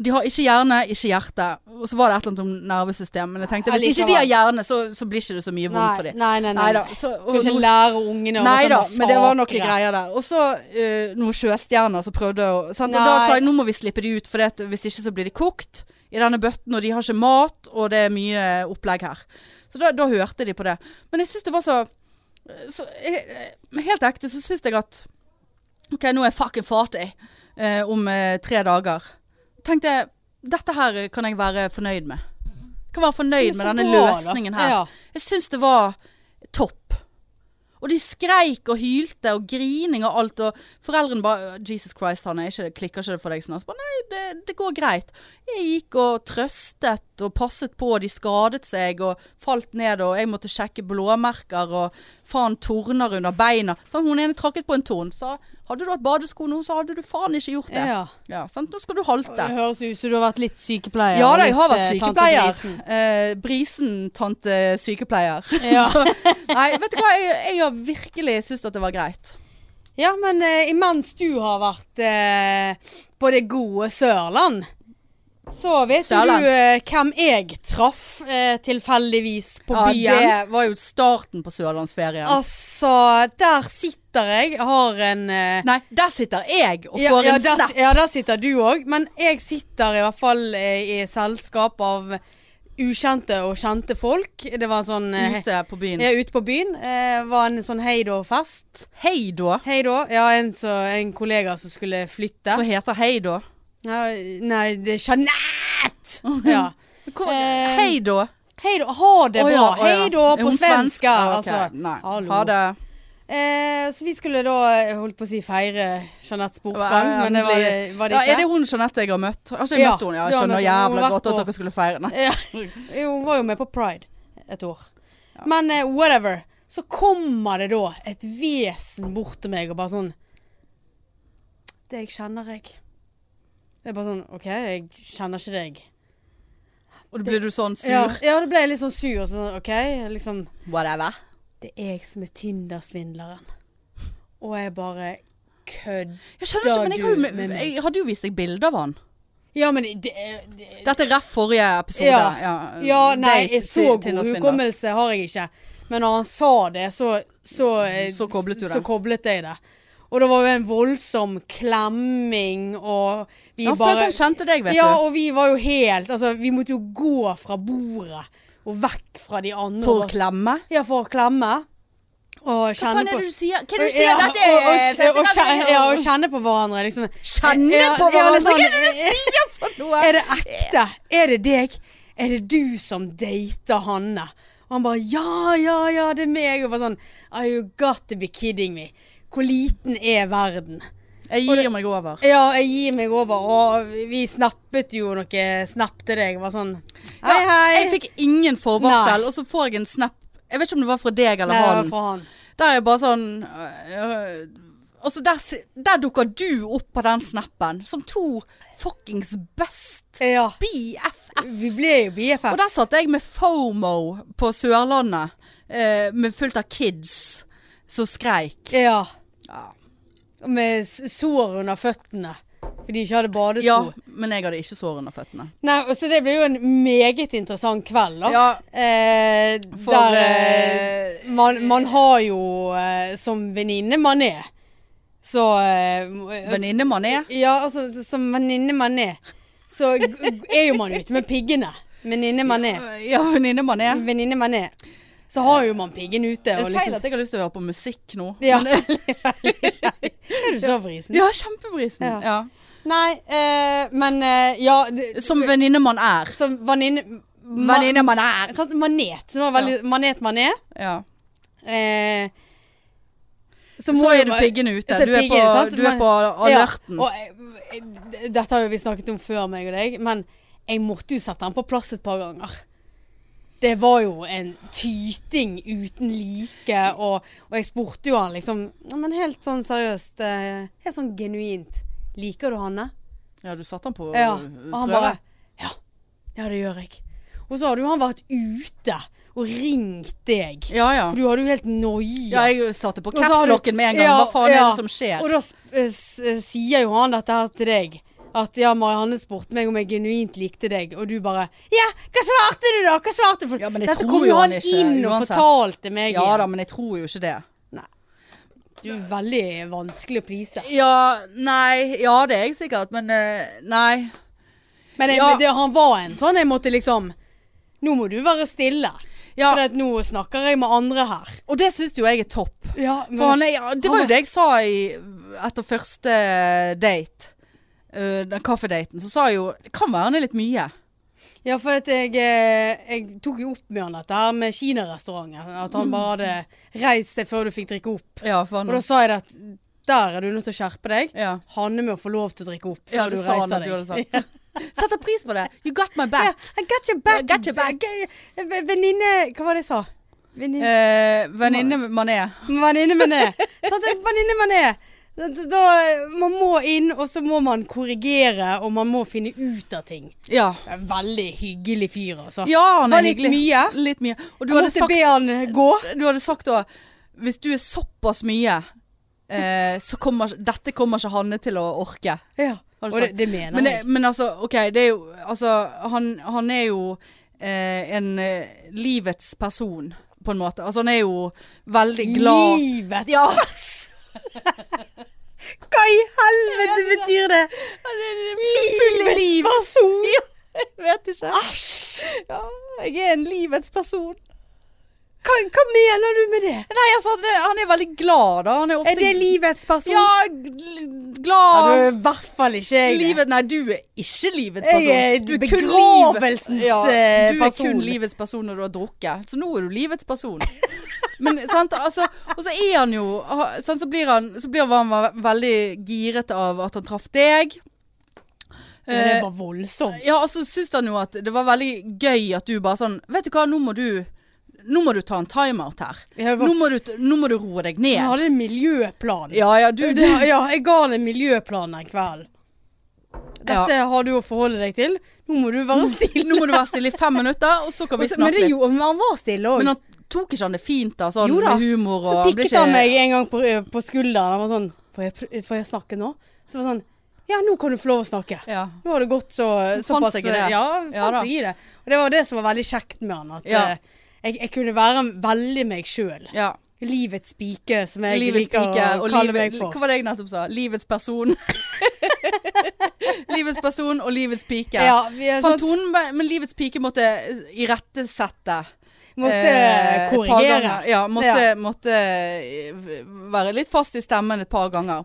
S1: De har ikke hjerne, ikke hjerte. Og så var det et eller annet om nervesystem. Men jeg tenkte hvis ikke de har hjerne, så, så blir ikke det så mye vondt for
S2: Nei,
S1: dem.
S2: nei, nei. nei.
S1: Neida, så- og
S2: Skal ikke
S1: nå-
S2: lære ungene å
S1: Nei
S2: sånn
S1: da, men det var noen
S2: sakre.
S1: greier der. Og så eh, noen sjøstjerner som prøvde å sant? Og da
S2: Nei.
S1: sa jeg nå må vi slippe de ut, for det, at hvis ikke så blir de kokt i denne bøtten, og de har ikke mat, og det er mye eh, opplegg her. Så da, da hørte de på det. Men jeg syns det var så, eh, så jeg, jeg- Helt ekte så syns jeg at OK, nå er jeg fucking fattig eh, om eh, tre dager. Tenkte jeg dette her kan jeg være fornøyd med. Kan være fornøyd med
S2: Men så
S1: denne
S2: bra, da.
S1: løsningen her.
S2: Ja.
S1: Jeg syns det var topp. Og de skreik og hylte og grining og alt, og foreldrene bare 'Jesus Christ, han er ikke, klikker ikke det for deg?' Sånn. Og Så bare, Nei, det, det går greit. Jeg gikk og trøstet og passet på, og de skadet seg og falt ned, og jeg måtte sjekke blåmerker og faen torner under beina. Sånn, hun ene trakket på en torn, sa Hadde du hatt badesko nå, så hadde du faen ikke gjort det.
S2: Ja.
S1: Ja, sant? Nå skal du
S2: Det
S1: halte.
S2: høres ut som du har vært litt sykepleier.
S1: Ja
S2: og
S1: da, jeg har
S2: litt,
S1: vært
S2: eh, tante
S1: sykepleier.
S2: Grisen.
S1: Eh, brisen tante sykepleier.
S2: Ja.
S1: Så, nei, vet du hva, jeg, jeg har virkelig syntes at det var greit.
S2: Ja, men eh, imens du har vært eh, på det gode Sørland, så vet jo
S1: Sørland.
S2: du eh, hvem jeg traff eh, tilfeldigvis på byen.
S1: Det var jo starten på sørlandsferien.
S2: Altså, der sitter jeg, jeg har en eh,
S1: Nei, der sitter jeg og
S2: ja,
S1: får
S2: ja,
S1: en
S2: der,
S1: snap.
S2: ja, der sitter du òg, men jeg sitter i hvert fall eh, i selskap av ukjente og kjente folk. Det var en sånn eh,
S1: Ute på byen.
S2: ja, ute på byen. Eh, var en sånn Heidå-fest.
S1: Hei da.
S2: Hei da. Ja, en, så, en kollega som skulle flytte.
S1: Som heter Hei da.
S2: Nei, nei, det er Jeanette! Ja.
S1: Hvor-
S2: Eh,
S1: Hei da.
S2: Hei da. Ha
S1: Å
S2: det bra.
S1: ja, å ja.
S2: Hei da
S1: Er
S2: på
S1: hun svensk?
S2: svenska.
S1: Ah, ok.
S2: Altså.
S1: Nei.
S2: Hallo.
S1: Ha det.
S2: Eh, så vi skulle da, jeg holdt på å si, feire Jeanettes
S1: Ja,
S2: bortgang, men det var det, var det
S1: Ja,
S2: ikke.
S1: er det hun Jeanette jeg har møtt? Altså, jeg
S2: Ja.
S1: møtte henne, ja.
S2: Du
S1: Jeg
S2: har
S1: skjønner
S2: møtt henne. Hun
S1: jævla
S2: har vært
S1: godt at
S2: på-
S1: dere skulle feire. Nei.
S2: Ja. Jo, Hun var jo med på Pride et år. Men eh, whatever. Så kommer det da et vesen bort til meg og bare sånn Det jeg kjenner jeg. Det er bare sånn OK, jeg kjenner ikke deg.
S1: Og da blir du sånn sur.
S2: Ja, ja det ble jeg litt sånn sur. og Sånn, OK, liksom
S1: Whatever.
S2: Det er jeg som er Tinder-svindleren. Og jeg bare kødd.
S1: Jeg skjønner ikke, men jeg, har jo,
S2: Da du-
S1: med- jeg hadde jo vist deg bilde av han.
S2: Ja, men det, det, det
S1: Dette er ref forrige episode.
S2: Ja. Ja, nei,
S1: Date
S2: så
S1: til-
S2: god
S1: til Tinder Spindler.
S2: hukommelse har jeg ikke. Men når han sa det, så Så, eh,
S1: Så koblet du det.
S2: så koblet jeg det. Og det var jo en voldsom klemming, og vi
S1: Han følte
S2: bare
S1: han kjente deg, vet
S2: Ja,
S1: du.
S2: og vi var jo helt Altså, vi måtte jo gå fra bordet og vekk fra de andre.
S1: For å
S2: og-
S1: klemme.
S2: Ja, for å klemme.
S1: Hva
S2: Og kjenne
S1: faen
S2: på
S1: er det du sier? Hva er det
S2: Ja,
S1: du sier? Dette
S2: og- og-
S1: er første
S2: og
S1: gang
S2: kjenne-
S1: jeg
S2: Ja,
S1: hører
S2: og kjenne på hverandre, liksom.
S1: Kjenne
S2: Ja,
S1: på
S2: ja, litt
S1: hverandre? Hva
S2: sånn-
S1: er det du sier for noe?
S2: Er det ekte? Er det deg? Er det du som dater Hanne? Og han bare ja, ja, ja, det er meg. Og bare sånn Are you got to be kidding me? Hvor liten er verden?
S1: Jeg gir meg over.
S2: Ja, jeg gir meg over. Og vi snappet jo noe snap til deg. Bare sånn Hei, hei.
S1: Jeg fikk ingen forvarsel, og så får jeg en snap. Jeg vet ikke om det var fra deg eller
S2: Nei, det var
S1: han.
S2: fra han.
S1: Der er jeg bare sånn øh, Altså, der, si- der dukker du opp på den snappen som to fuckings best
S2: Ja.
S1: BFF.
S2: Vi ble jo BFF.
S1: Og der satt jeg med FOMO på Sørlandet, eh, med fullt av kids som skreik.
S2: Ja.
S1: Ja.
S2: Med s- sår under føttene. Fordi de ikke hadde badesko.
S1: ja, men jeg hadde ikke sår under føttene.
S2: Nei, og Så det ble jo en meget interessant kveld, da.
S1: Ja.
S2: Eh,
S1: For,
S2: der eh, man, man har jo eh, som venninne man er. Så eh,
S1: Venninne man er.
S2: Ja, altså så- som venninne man er, så g- g- er jo man ute med piggene. Venninne man er.
S1: Ja, venninne man er.
S2: Venninne man er. Så har jo man piggen ute.
S1: Er
S2: Mm. og
S1: det
S2: liksom-
S1: feil at jeg har lyst til å høre på musikk nå?
S2: Ja. er du så vrisen?
S1: Ja, kjempebrisen.
S2: Ja.
S1: Ja.
S2: Nei, eh, men eh, ja det-
S1: Som venninne man er.
S2: Som venninne ma-
S1: Venninne man er.
S2: Sant, manet. Så nå er veldig, Manet man er.
S1: Ja.
S2: Eh,
S1: Så er du piggen ute.
S2: Så er
S1: Du er på,
S2: piggen, sant?
S1: du er på alerten.
S2: Ja, og, eh, d- dette har jo vi snakket om før, meg og deg, men jeg måtte jo sette den på plass et par ganger. Det var jo en tyting uten like, og, og jeg spurte jo han liksom "Ja, Men helt sånn seriøst, eh, helt sånn genuint. Liker du Hanne?
S1: Ja, du satte den på
S2: Ja.
S1: øh,
S2: Og han
S1: prøve.
S2: bare Ja, ja det gjør jeg. Og så hadde jo han vært ute og ringt deg.
S1: Ja, ja.
S2: For du hadde jo helt noia.
S1: Ja, jeg satte på
S2: Og så har du-
S1: capslocken med en gang.
S2: Ja,
S1: Hva faen er
S2: ja.
S1: det som skjer?
S2: Og da s- eh, s- sier jo han dette her til deg. At ja, Marianne spurte meg om jeg genuint likte deg, og du bare Ja, hva svarte du da? Hva svarte for
S1: Ja, men jeg
S2: Dette
S1: tror
S2: kom
S1: jo
S2: jo han
S1: han ikke,
S2: inn og
S1: uansett.
S2: fortalte meg.
S1: Ja da,
S2: igjen.
S1: men jeg tror jo ikke det.
S2: Du er veldig vanskelig å please.
S1: Ja, nei Ja, det er jeg sikkert, men eh, nei.
S2: Men, jeg,
S1: Ja.
S2: men det, han var en sånn jeg måtte liksom Nå må du være stille.
S1: Ja.
S2: For at nå snakker jeg med andre her.
S1: Og det syns jo jeg er topp.
S2: Ja, men,
S1: For han er, ja, det
S2: Han
S1: var
S2: var-
S1: jo det jeg sa i, etter første date. eh, den kaffedaten. Så sa jeg jo Det kan være han er litt mye.
S2: Ja, for at jeg, eh, jeg tok jo opp med han dette her med kinarestauranten. At
S1: Mm.
S2: han bare hadde reist seg før du fikk drikke opp.
S1: Ja, for
S2: Og
S1: han
S2: da sa jeg det at der er du nødt til å skjerpe deg.
S1: Mm. ja.
S2: Hanne med å få lov til å drikke opp før
S1: ja,
S2: du
S1: det sa han
S2: reiser
S1: at du hadde
S2: deg.
S1: sagt. Setter pris på det. You got my
S2: Ja,
S1: back.
S2: I got your back.
S1: I got your back.
S2: G- v- Venninne Hva var det jeg sa? Venninne
S1: Eh, Venninne man er.
S2: Venninne man er. Sant, en Venninne man er. Da, man må inn, og så må man korrigere, og man må finne ut av ting.
S1: Ja.
S2: Det er en Veldig hyggelig fyr, altså.
S1: Ja, han
S2: Var
S1: er
S2: litt
S1: hyggelig.
S2: mye?
S1: Litt mye. Og du
S2: jeg
S1: hadde
S2: måtte
S1: sagt
S2: be han gå.
S1: Du hadde sagt da Hvis du er såpass mye eh, Så kommer Dette kommer ikke Hanne til å orke
S2: Ja.
S1: Har du
S2: Og det,
S1: sagt?
S2: det mener
S1: men, det-
S2: jeg.
S1: men altså Ok, det er jo Altså Han, han er jo eh, En eh, livets person På en måte Altså han er jo Veldig glad
S2: Livets
S1: Ja.
S2: person. Hva i helvete betyr det? Livets person!
S1: Jeg vet ikke
S2: Æsj!
S1: ja, Jeg er en livets person
S2: Hva, hva mener du med det?
S1: Nei, altså Han er, han er veldig glad da Han er ofte
S2: Er det livets person?
S1: Ja, gl-
S2: Ja,
S1: glad
S2: du er i hvert fall ikke jeg. det.
S1: Livet, nei, du er ikke livets
S2: Jeg
S1: person.
S2: er
S1: Du kun
S2: begravelsens,
S1: livet-
S2: eh,
S1: Du
S2: person.
S1: er kun livets person når du har drukket. Så nå er du livets person. Men sant, altså, Og så er han jo ha- sant, så, blir han, så blir han ve- veldig giret av at han traff deg.
S2: Ja, det
S1: Eh,
S2: var voldsomt.
S1: ja, og så syns han jo at det var veldig gøy at du bare sånn Vet du hva, nå må du Nå må du ta en timeout her.
S2: Ja, det var-
S1: Nå må du, t- nå må du roe deg
S2: Han
S1: ned.
S2: hadde en miljøplan.
S1: Ja, ja, du,
S2: Det, ja, jeg ga han en miljøplan den kvelden. Dette har du å forholde deg til. Nå må du være stille.
S1: Nå må du være stille i fem minutter, og så kan vi
S2: Og så- Mm. Men
S1: snakke
S2: det
S1: litt.
S2: gjorde, men han var stille òg.
S1: Men han tok ikke han det fint da, sånn
S2: Jo da.
S1: med humor og
S2: Så
S1: han ble
S2: pikket
S1: ikke-
S2: han meg en gang på, eh, på skulderen. Han var sånn får jeg, pr- 'Får jeg snakke nå?' Så var det sånn 'Ja, nå kan du få lov å snakke'.
S1: Ja.
S2: Nå har det gått så,
S1: Så fant
S2: såpass
S1: seg i det. Ja
S2: Ja, fant
S1: da.
S2: seg i det. Og det var det som var veldig kjekt med han. At
S1: Ja.
S2: eh, jeg, jeg kunne være veldig meg sjøl.
S1: ja.
S2: Livets pike, som jeg
S1: Livets
S2: liker
S1: pike
S2: å
S1: og
S2: kalle
S1: livet,
S2: meg
S1: Hva
S2: for.
S1: var det jeg nettopp sa? Livets person. livets person og livets pike.
S2: Ja, vi er sånn,
S1: Fantonen, men livets pike måtte irettesette.
S2: måtte
S1: eh, et par
S2: korrigere.
S1: ganger. Ja, måtte, måtte eh, være litt fast i stemmen et par ganger.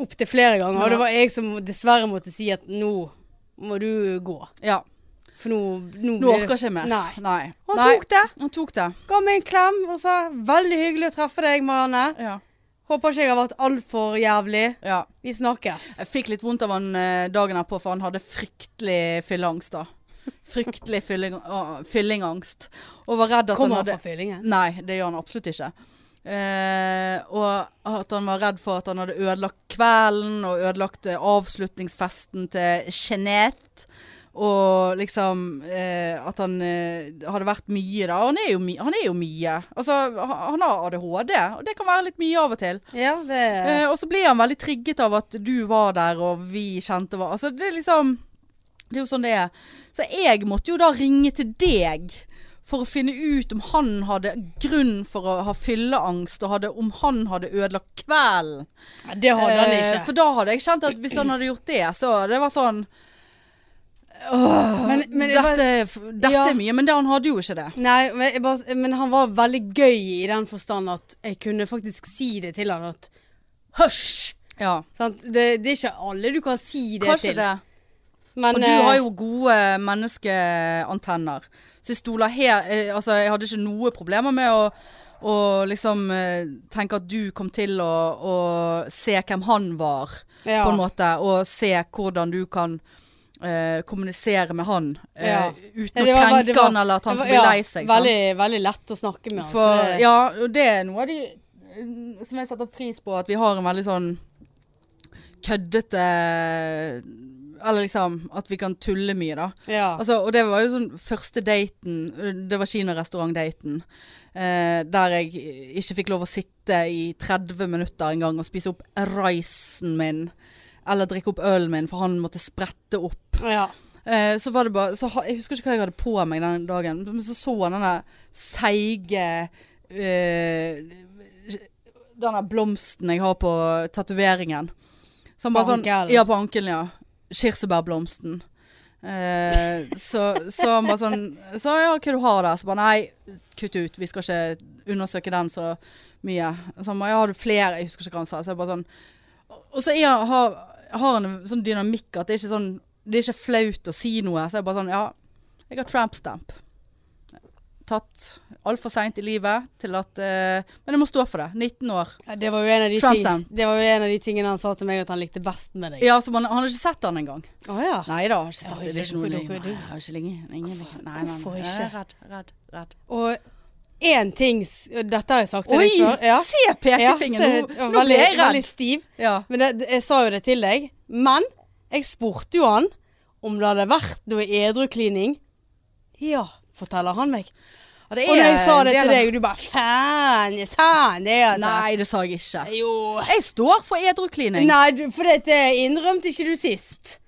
S2: Opptil flere ganger. Og
S1: Ja.
S2: det var jeg som dessverre måtte si at nå må du gå.
S1: Ja.
S2: For nå
S1: Nå
S2: Nå, blir det-
S1: orker ikke jeg mer.
S2: Nei.
S1: Nei.
S2: Han
S1: Nei.
S2: tok det.
S1: Han tok det.
S2: Ga meg en klem og sa 'veldig hyggelig å treffe deg, Marianne'.
S1: Ja.
S2: Håper ikke jeg har vært altfor jævlig.
S1: ja.
S2: Vi snakkes.
S1: Jeg fikk litt vondt av han eh, dagen her på, for han hadde fryktelig fylleangst da. Fryktelig fylling, å, fyllingangst. Og var redd at
S2: Kommer
S1: han Mm. hadde
S2: fra fyllingen.
S1: Nei, det gjør han absolutt ikke. Eh, og at han var redd for at han hadde ødelagt kvelden og ødelagt eh, avslutningsfesten til Jeanette. Og liksom eh, at han eh, hadde vært mye, da. Og han er jo, my han er jo mye. Altså, ha- han har ADHD, og det kan være litt mye av og til.
S2: Ja, det
S1: Eh, og så blir han veldig trigget av at du var der, og vi kjente hva Altså, det er liksom Det er jo sånn det er. Så jeg måtte jo da ringe til deg for å finne ut om han hadde grunn for å ha fylleangst, og hadde, om han hadde ødelagt kvelden.
S2: Nei, Det hadde han
S1: Eh,
S2: ikke.
S1: for da hadde jeg kjent at hvis han hadde gjort det, så hadde det var sånn
S2: men, men, jeg
S1: Dette,
S2: bare,
S1: dette
S2: Ja.
S1: er mye, men det han hadde jo ikke det.
S2: nei, men, jeg bare, men han var veldig gøy i den forstand at jeg kunne faktisk si det til han at Hysj!
S1: Ja.
S2: Sant? Det, det er ikke alle du kan si det
S1: Kanskje
S2: til.
S1: det.
S2: Men,
S1: Og du har
S2: eh,
S1: jo gode menneskeantenner. Så jeg stoler helt eh, Altså, jeg hadde ikke noe problemer med å å liksom eh, tenke at du kom til å, å se hvem han var,
S2: Ja.
S1: på en måte. Og se hvordan du kan eh, kommunisere med han eh,
S2: Ja.
S1: uten
S2: Nei, det
S1: å
S2: var-
S1: krenke
S2: det var-
S1: han eller at han
S2: det var-
S1: skal bli
S2: ja,
S1: lei seg. sant?
S2: Veldig, veldig lett å snakke med han.
S1: For,
S2: så det,
S1: ja, og det er noe av de eh, som jeg setter pris på, at vi har en veldig sånn køddete eh, Eller liksom at vi kan tulle mye, da.
S2: ja.
S1: Altså, og det var jo sånn første daten, eh, det var kinarestaurant-daten, eh, der jeg eh, ikke fikk lov å sitte i 30 minutter en gang og spise opp ricen min, eller drikke opp ølen min, for han måtte sprette opp.
S2: ja.
S1: Eh, så var det bare så, ha- Jeg husker ikke hva jeg hadde på meg den dagen, men så så han denne seige eh, Denne blomsten jeg har på tatoveringen. Så han
S2: På
S1: bare sånn
S2: ankelen?
S1: Ja, på ankelen, ja. Kirsebærblomsten. Eh, så, så han bare sånn Så ja, hva du har der? Så bare nei, kutt ut. Vi skal ikke undersøke den så mye. Så han bare ja, har du flere? Jeg husker ikke hva han sa. Så jeg bare sånn og så er, han- har, har han en sånn dynamikk at det er ikke sånn Det er ikke flaut å si noe. Så jeg bare sånn Ja, jeg har tramp stamp. Tatt altfor seint i livet til at eh, Men jeg må stå for det. 19 år.
S2: Ja, Det var jo en av de,
S1: Trump
S2: ting,
S1: stamp.
S2: det var jo en av de tingene han sa til meg at han likte best med deg.
S1: Ja, så man, Han har ikke sett han engang.
S2: Å, ja.
S1: Nei da, har ikke sett
S2: Oi,
S1: det. Det er ikke
S2: hvorfor
S1: noe
S2: dukker
S1: lenge.
S2: du?
S1: Nei, jeg har ikke lenge. lenge, lenge. Nei, nei, nei.
S2: hvorfor
S1: Jeg
S2: ikke?
S1: er Redd, redd, redd.
S2: Og én ting s- Dette har jeg sagt til
S1: Oi!
S2: deg før. Ja.
S1: Se pekefingeren!
S2: Ja, så-
S1: nå,
S2: og
S1: nå
S2: veldig,
S1: ble jeg
S2: veldig
S1: redd.
S2: stiv.
S1: Ja.
S2: Men det, det- jeg sa jo det til deg. Men jeg spurte jo han om det hadde vært noe edruklining. Ja, forteller han meg.
S1: Ja, Eh, det
S2: Og når
S1: er
S2: jeg sa det
S1: en del
S2: til
S1: av-
S2: deg, og du bare Faen, jeg sa han det, altså.
S1: Nei, det sa jeg ikke.
S2: Jo.
S1: Jeg står for edruklining.
S2: Nei, du- for det det innrømte ikke du sist.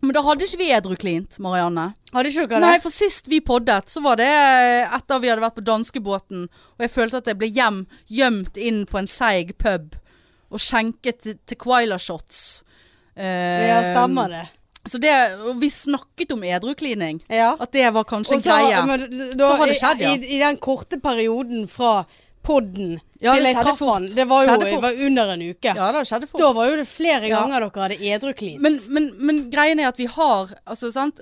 S1: Men da hadde ikke vi edruklint, Marianne.
S2: Hadde ikke dere det?
S1: Nei, for sist vi poddet, så var det eh, etter vi hadde vært på danskebåten, og jeg følte at jeg ble hjem, gjemt inn på en seig pub og skjenket til- tequila shots. Eh,
S2: ja, stemmer det.
S1: Så det, og vi snakket om edruklining.
S2: Ja.
S1: At det var kanskje en
S2: Og så-
S1: greie.
S2: men da,
S1: Så har det skjedd, ja.
S2: i, i, I den korte perioden fra podden
S1: Ja,
S2: til
S1: det
S2: jeg
S1: skjedde
S2: traff
S1: fort.
S2: han, det var jo
S1: Skjedde
S2: det
S1: fort.
S2: var under en uke.
S1: ja, det skjedde fort.
S2: Da var jo det flere
S1: Ja.
S2: ganger dere hadde edruklin.
S1: Men, men, men greien er at vi har altså, sant?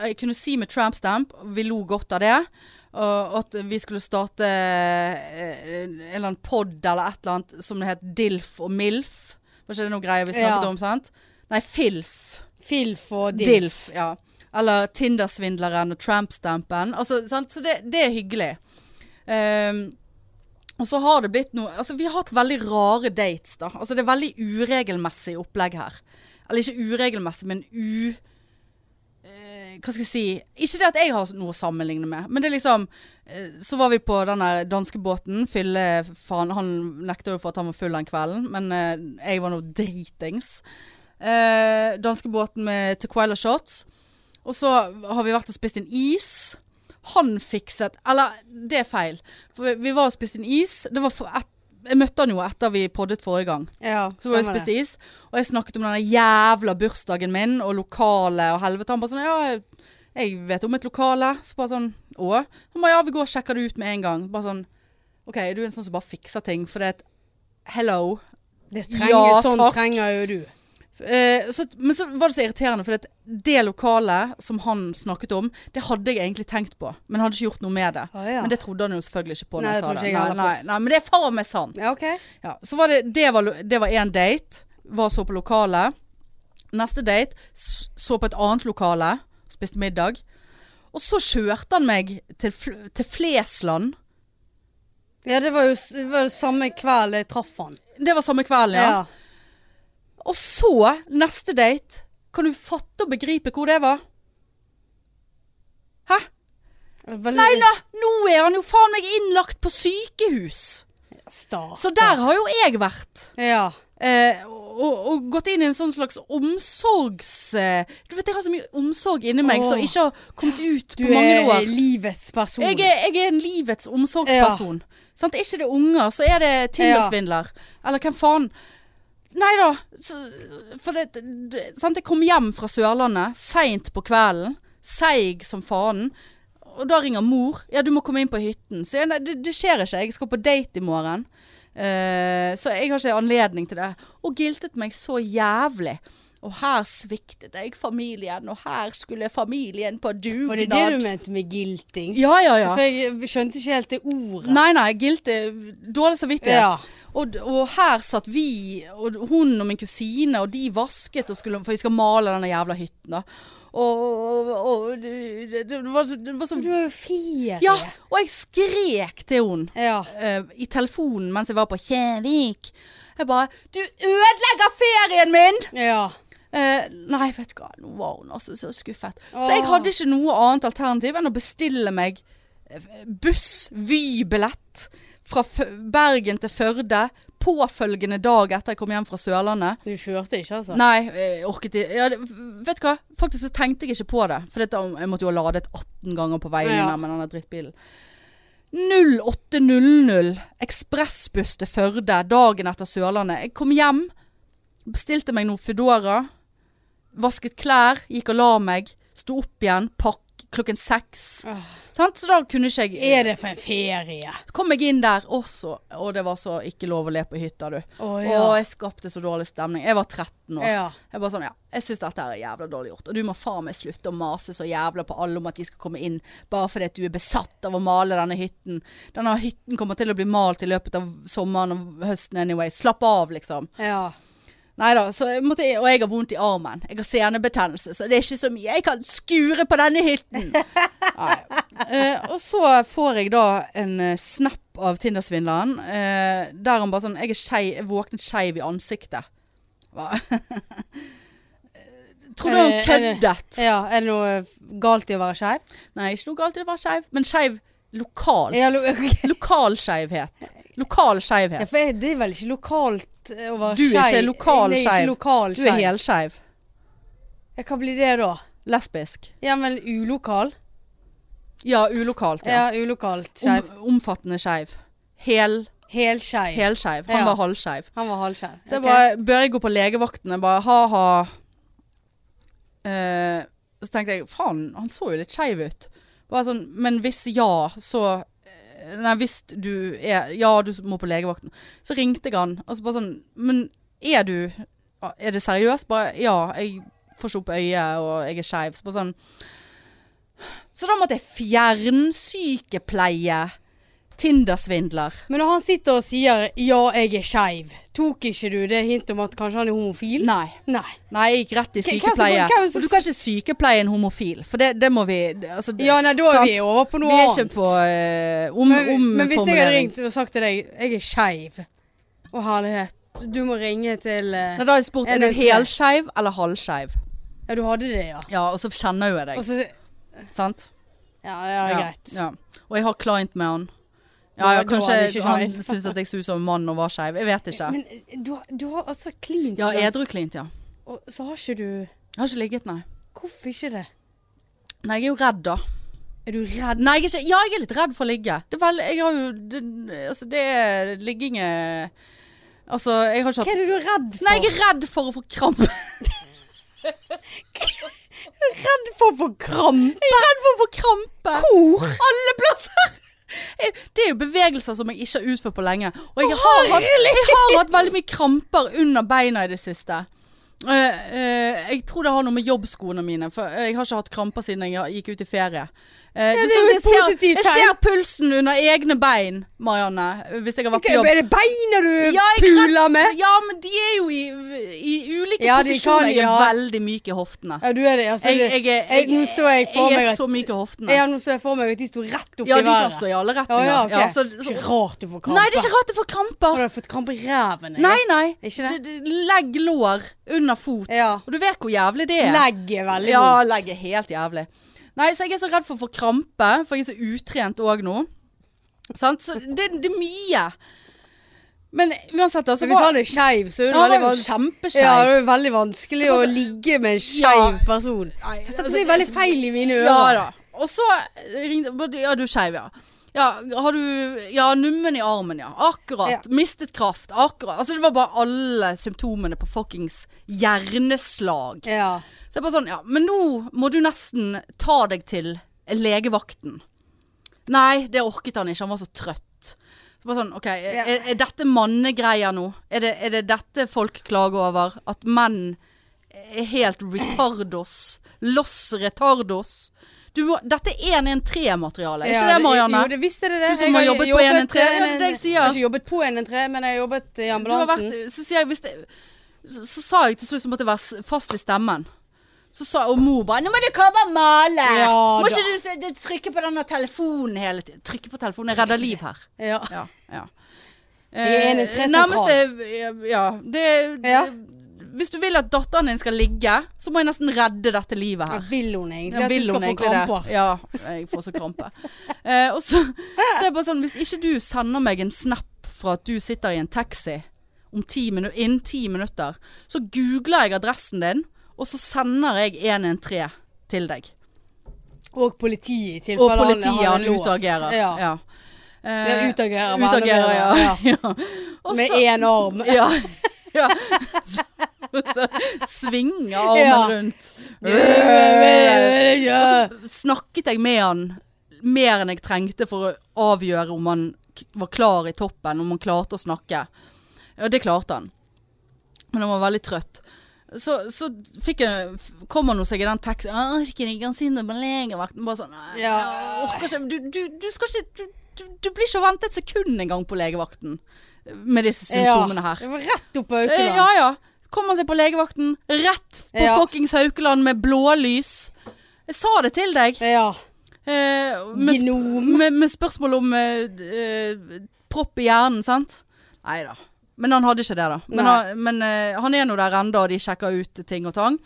S1: Jeg kunne si med Tramp Stamp, vi lo godt av det. Og at vi skulle starte eh, en eller annen pod eller et eller annet som det het DILF og MILF. Var ikke det noe greier vi snakket
S2: Ja.
S1: om? sant? Nei, FILF.
S2: Filf og
S1: DILF.
S2: dilf.
S1: ja. Eller Tindersvindleren og Tramp Stampen. Altså, sant? Så det, det er hyggelig. Ehm, og så har det blitt noe Altså, vi har hatt veldig rare dates, da. Altså, det er veldig uregelmessig opplegg her. Eller ikke uregelmessig, men u... eh, Hva skal jeg si Ikke det at jeg har noe å sammenligne med, men det er liksom eh, Så var vi på den der danskebåten. Fylle faen Han nekta jo for at han var full den kvelden, men eh, jeg var nå dritings. Eh, danskebåten med Tequila shots. Og så har vi vært og spist en is. Han fikset Eller, det er feil. For vi var og spiste en is. Det var for et, jeg møtte han jo etter vi poddet forrige gang.
S2: Ja,
S1: Så var jeg og
S2: stemmer
S1: spiste is, og jeg snakket om denne jævla bursdagen min og lokalet og helvete. Han bare sånn Ja, jeg- jeg vet om et lokale. Så bare sånn Å? Han bare ja, vi går og sjekker det ut med en gang. Bare sånn OK, er du en sånn som bare fikser ting? For det er et Hello.
S2: Det trenger,
S1: Ja,
S2: sånn
S1: takk.
S2: trenger jo du.
S1: Eh, så, men så var det så irriterende, for det, det lokalet som han snakket om, det hadde jeg egentlig tenkt på, men hadde ikke gjort noe med det.
S2: Å, Ah, ja.
S1: Men det trodde han jo selvfølgelig ikke på. når
S2: Nei, det
S1: jeg sa
S2: tror
S1: det.
S2: ikke jeg
S1: Nei,
S2: heller på.
S1: nei, nei, men det er faen meg sant.
S2: Ja, ok.
S1: Ja, så var det, det var, det var en date, var så på lokalet. Neste date, s- så på et annet lokale, spiste middag. Og så kjørte han meg til, Fl- til Flesland.
S2: Ja, det var jo s- det var samme kveld jeg traff han.
S1: Det var samme kvelden, ja.
S2: Ja.
S1: Og så, neste date, kan du fatte og begripe hvor det var? Hæ?
S2: Veldig
S1: Nei da, nå er han jo faen meg innlagt på sykehus.
S2: Start.
S1: Så der har jo jeg vært.
S2: Ja.
S1: Eh, og, og gått inn i en sånn slags omsorgs... Eh, du vet, jeg har så mye omsorg inni meg som
S2: Åh.
S1: ikke har kommet ut
S2: Du
S1: på mange
S2: er
S1: år.
S2: livets person.
S1: Jeg er, jeg er en livets omsorgsperson. Sant? Er ikke det unger, så er det Tindersvindler. Eller hvem faen. Nei da. så- For det, det sant? Jeg kom hjem fra Sørlandet seint på kvelden. Seig som faen. Og da ringer mor. Ja, du må komme inn på hytten. Så jeg, nei, det, det skjer ikke. Jeg skal på date i morgen. Eh, så jeg har ikke anledning til det. Og giltet meg så jævlig. Og her sviktet jeg familien, og her skulle familien på dugnad.
S2: Var det det du mente med gilting?
S1: Ja, ja, ja.
S2: For jeg skjønte ikke helt det ordet.
S1: Nei, nei, guilty. Dårlig samvittighet.
S2: Ja.
S1: Og, og her satt vi, og hun og min kusine, og de vasket, og skulle, for vi skal male denne jævla hytten. da. Og, og, og det, det, var så, det var så
S2: Du er jo ferie.
S1: Ja! Og jeg skrek til hun
S2: ja.
S1: eh, i telefonen mens jeg var på Kjevik. Jeg bare 'Du ødelegger ferien min!'
S2: Ja.
S1: Eh, nei, vet du hva, nå var hun altså så skuffet. Så
S2: Åh.
S1: jeg hadde ikke noe annet alternativ enn å bestille meg eh, buss, Vy-billett fra F Bergen til Førde påfølgende dag etter jeg kom hjem fra Sørlandet.
S2: Du kjørte ikke, altså?
S1: Nei, jeg orket ikke ja, det- Vet du hva, faktisk så tenkte jeg ikke på det. For dette, jeg måtte jo ha ladet 18 ganger på veien
S2: Ja.
S1: der med denne drittbilen. 08.00 ekspressbuss til Førde dagen etter Sørlandet. Jeg kom hjem, bestilte meg noe Foodora, vasket klær, gikk og la meg, sto opp igjen, pakk klokken seks.
S2: Åh.
S1: Sant? Så da kunne ikke jeg
S2: Ah. Er det for en ferie?
S1: Kom meg inn der også, og det var så ikke lov å le på hytta, du.
S2: Å
S1: Og jeg skapte så dårlig stemning. Jeg var 13 år.
S2: ja.
S1: Jeg bare sånn, ja, jeg syns dette her er jævla dårlig gjort. Og du må faen meg slutte å mase så jævla på alle om at de skal komme inn bare fordi at du er besatt av å male denne hytten. Denne hytten kommer til å bli malt i løpet av sommeren og høsten anyway. Slapp av, liksom.
S2: Ja.
S1: Nei da, så jeg måtte, og jeg har vondt i armen. Jeg har senebetennelse, så det er ikke så mye jeg kan skure på denne hytten. Nei. Eh, og så får jeg da en eh, snap av Tindersvindleren, eh, der han bare sånn Jeg er skeiv, jeg våknet skeiv i ansiktet. Hva? Tror du han
S2: Er det- er det-
S1: køddet?
S2: Ja, er det noe galt i å være skeiv?
S1: Nei, ikke noe galt i å være skeiv, men skeiv lokalt.
S2: Ja, lo- ok.
S1: Lokal skeivhet. Lokal
S2: ja,
S1: skeivhet.
S2: for jeg- det er vel ikke lokalt eh, å være
S1: Du er ikke
S2: skeiv?
S1: lokal
S2: Jeg er
S1: skeiv.
S2: ikke lokal
S1: Du er
S2: skeiv.
S1: helskeiv.
S2: Ja, hva blir det da?
S1: Lesbisk.
S2: Ja, men ulokal?
S1: Ja, ulokalt. Ja.
S2: Ja, ulokalt skeiv.
S1: Om, omfattende skeiv. Hel,
S2: Helskeiv.
S1: helskeiv. Han
S2: Ja.
S1: var halvskeiv.
S2: Han var halvskeiv.
S1: Så jeg
S2: Ok.
S1: bare, bør jeg gå på legevakten? Jeg bare, ha-ha. Eh, så tenkte jeg, faen, han så jo litt skeiv ut. Bare sånn, men hvis ja, så eh, Nei, hvis du er Ja, du må på legevakten. Så ringte jeg han, og så bare sånn Men er du Er det seriøst? Bare ja, jeg får ikke opp øyet, og jeg er skeiv. Så bare sånn Så da måtte jeg fjernsykepleie Tindersvindler.
S2: Men når han sitter og sier 'ja, jeg er skeiv', tok ikke du det hint om at kanskje han er homofil?
S1: Nei.
S2: Nei.
S1: Nei, jeg gikk rett i
S2: Hvem- hvem som-
S1: sykepleie.
S2: hvem
S1: Og
S2: som-
S1: du kan ikke sykepleie en homofil, for det, det må vi altså, det,
S2: Ja, nei, da er
S1: sant?
S2: vi over på noe
S1: Vi er
S2: annet.
S1: ikke på eh, om,
S2: men, men hvis jeg hadde
S1: omformulering.
S2: ringt og sagt til deg 'jeg er skeiv', å herlighet, du må ringe til eh,
S1: Nei, da har jeg spurt
S2: Er
S1: er du
S2: det tre?
S1: helskeiv eller halvskeiv.
S2: Ja, du hadde det, ja.
S1: Ja, og så kjenner jo jeg
S2: Og
S1: deg,
S2: så
S1: sant?
S2: Ja, ja,
S1: Ja,
S2: greit.
S1: ja. Og jeg har client med han.
S2: Da-
S1: Ja, ja,
S2: da
S1: kanskje
S2: var han ikke
S1: han
S2: skeiv.
S1: syns at jeg så ut som en mann og var skeiv. Jeg vet ikke.
S2: Men eh, du, har- du har altså klint
S1: Ja,
S2: glass,
S1: edru client, ja.
S2: Og så har ikke du
S1: Jeg har ikke ligget, nei.
S2: Hvorfor ikke det?
S1: Nei, jeg er jo redd, da.
S2: Er du redd?
S1: Nei, jeg er ikke, ja, jeg er litt redd for å ligge. Det er vel, jeg har jo det, Altså, det er ligging er- Altså, jeg har ikke hatt
S2: Hva er det du er redd for?
S1: Nei, jeg er redd for å få krampe.
S2: redd for å få krampe.
S1: Jeg er redd for å få krampe.
S2: Hvor?
S1: Alle plasser! Jeg- Det er jo bevegelser som jeg ikke har utført på lenge. Og jeg har hatt, jeg har hatt veldig mye kramper under beina i det siste. Eh, eh, jeg tror det har noe med jobbskoene mine, for jeg har ikke hatt kramper siden jeg gikk ut i ferie. Eh,
S2: det
S1: sånn
S2: er
S1: at
S2: jo
S1: jeg
S2: et
S1: ser-
S2: positivt
S1: Jeg
S2: tegn.
S1: ser pulsen under egne bein, Marianne, hvis jeg har vært på jobb.
S2: Er det beina du
S1: Ja, jeg kan-
S2: puler med?
S1: Ja, men de er jo i, i ulike
S2: Ja, de
S1: posisjoner.
S2: kan-
S1: Jeg er
S2: ja.
S1: veldig myk i hoftene.
S2: Ja, du er det. Altså,
S1: Jeg,
S2: det-
S1: jeg, er-
S2: jeg- nå så jeg for
S1: jeg
S2: meg
S1: er
S2: at-
S1: så myk i hoftene.
S2: ja, nå så jeg for meg at de sto rett opp
S1: Ja,
S2: i
S1: de kan
S2: været.
S1: stå i alle
S2: ja,
S1: retninger.
S2: ja, ok.
S1: Ja, så, så,
S2: ikke rart du får krampe.
S1: nei, det er ikke rart jeg får
S2: Har
S1: kramper.
S2: du fått krampe i ræven? jeg?
S1: Nei, nei.
S2: Ikke det?
S1: D- d- Legg lår under fot.
S2: Ja.
S1: Og du vet hvor jævlig det er.
S2: Legg er veldig
S1: Ja,
S2: vondt.
S1: legg er helt jævlig. Nei, så jeg er så redd for å få krampe, for jeg er så utrent òg nå. Sant? Så det, det er mye. Men uansett, da,
S2: Så
S1: så
S2: hvis
S1: var
S2: han er skeiv, så er det
S1: Ja, han
S2: veldig
S1: var jo
S2: vanskelig.
S1: kjempeskeiv.
S2: Ja, det er veldig vanskelig å ligge med en
S1: Ja.
S2: skeiv person.
S1: Nei,
S2: Dette
S1: altså,
S2: blir veldig feil i mine ører.
S1: Ja da. Og så ringte Ja, du er skeiv, ja. Ja, har du Ja, nummen i armen, ja. Akkurat.
S2: Ja.
S1: Mistet kraft. Akkurat. Altså, det var bare alle symptomene på fuckings hjerneslag.
S2: Ja.
S1: Så jeg bare sånn, ja, men nå må du nesten ta deg til legevakten. Nei, det orket han ikke, han var så trøtt. Så bare sånn, ok, er,
S2: Ja.
S1: er dette mannegreier nå? Er det, er det dette folk klager over? At menn er helt retardos? Los retardos? Du må, dette er 113-materiale, er ikke
S2: Ja,
S1: det, Marianne?
S2: Jo, det visste det. det.
S1: Du som
S2: Jeg
S1: har jobbet på 113, ja, det er det jeg sier.
S2: Jeg har ikke jobbet på 113, men jeg har jobbet i
S1: Du har
S2: ambulansen.
S1: vært, så, sier jeg, hvis det, så, så sa jeg til slutt så måtte jeg være s- fast i stemmen. Så sa og mor bare 'Nå må du komme og male!'
S2: Ja,
S1: må
S2: da.
S1: ikke du se- det- trykke på denne telefonen hele tiden? Trykke på telefonen. Jeg redder liv her.
S2: Ja.
S1: Ja. ja. Eh,
S2: er en i tre sentral.
S1: nærmeste Ja. Det,
S2: Ja.
S1: Hvis du vil at datteren din skal ligge, så må jeg nesten redde dette livet her.
S2: Ja, vil hun egentlig
S1: Ja,
S2: at du
S1: vil
S2: skal
S1: hun
S2: få
S1: egentlig
S2: kramper?
S1: det? Ja, jeg får så krampe. Eh, og så, så er jeg bare sånn, hvis ikke du sender meg en snap fra at du sitter i en taxi om ti minu innen ti minutter, så googler jeg adressen din, og så sender jeg 113 til deg.
S2: Og politiet, i tilfelle
S1: Og politiet
S2: har
S1: han
S2: det låst.
S1: utagerer.
S2: Ja.
S1: Ja. Eh,
S2: Ja, utagerer, med
S1: utagerer,
S2: andre
S1: ja.
S2: ord,
S1: ja. Og
S2: Med e-
S1: så-
S2: én arm.
S1: ja. ja. Så svinger armen
S2: Ja.
S1: rundt.
S2: Ja.
S1: snakket jeg med han mer enn jeg trengte for å avgjøre om han k- var klar i toppen, om han klarte å snakke. Ja, det klarte han. Men han var veldig trøtt. Så, så fikk jeg, f- kom han hos seg i den teksten Jeg orker ikke han sine på legevakten. Bare sånn «Nei,
S2: Ja.
S1: jeg orker ikke. Du, du, du skal ikke du, du, du blir ikke å vente et sekund engang på legevakten med disse symptomene her.
S2: Det var rett opp på
S1: Eh,
S2: øynene.
S1: Ja ja. Kom han seg på legevakten rett på
S2: Ja.
S1: fuckings Haukeland med blålys. Jeg sa det til deg.
S2: Ja.
S1: Eh, med, sp
S2: Gnom.
S1: med, med spørsmål om eh, eh, propp i hjernen, sant? Nei da. Men han hadde ikke det, da. Men,
S2: Nei.
S1: han, men eh, han er nå der ennå, og de sjekker ut ting og tang.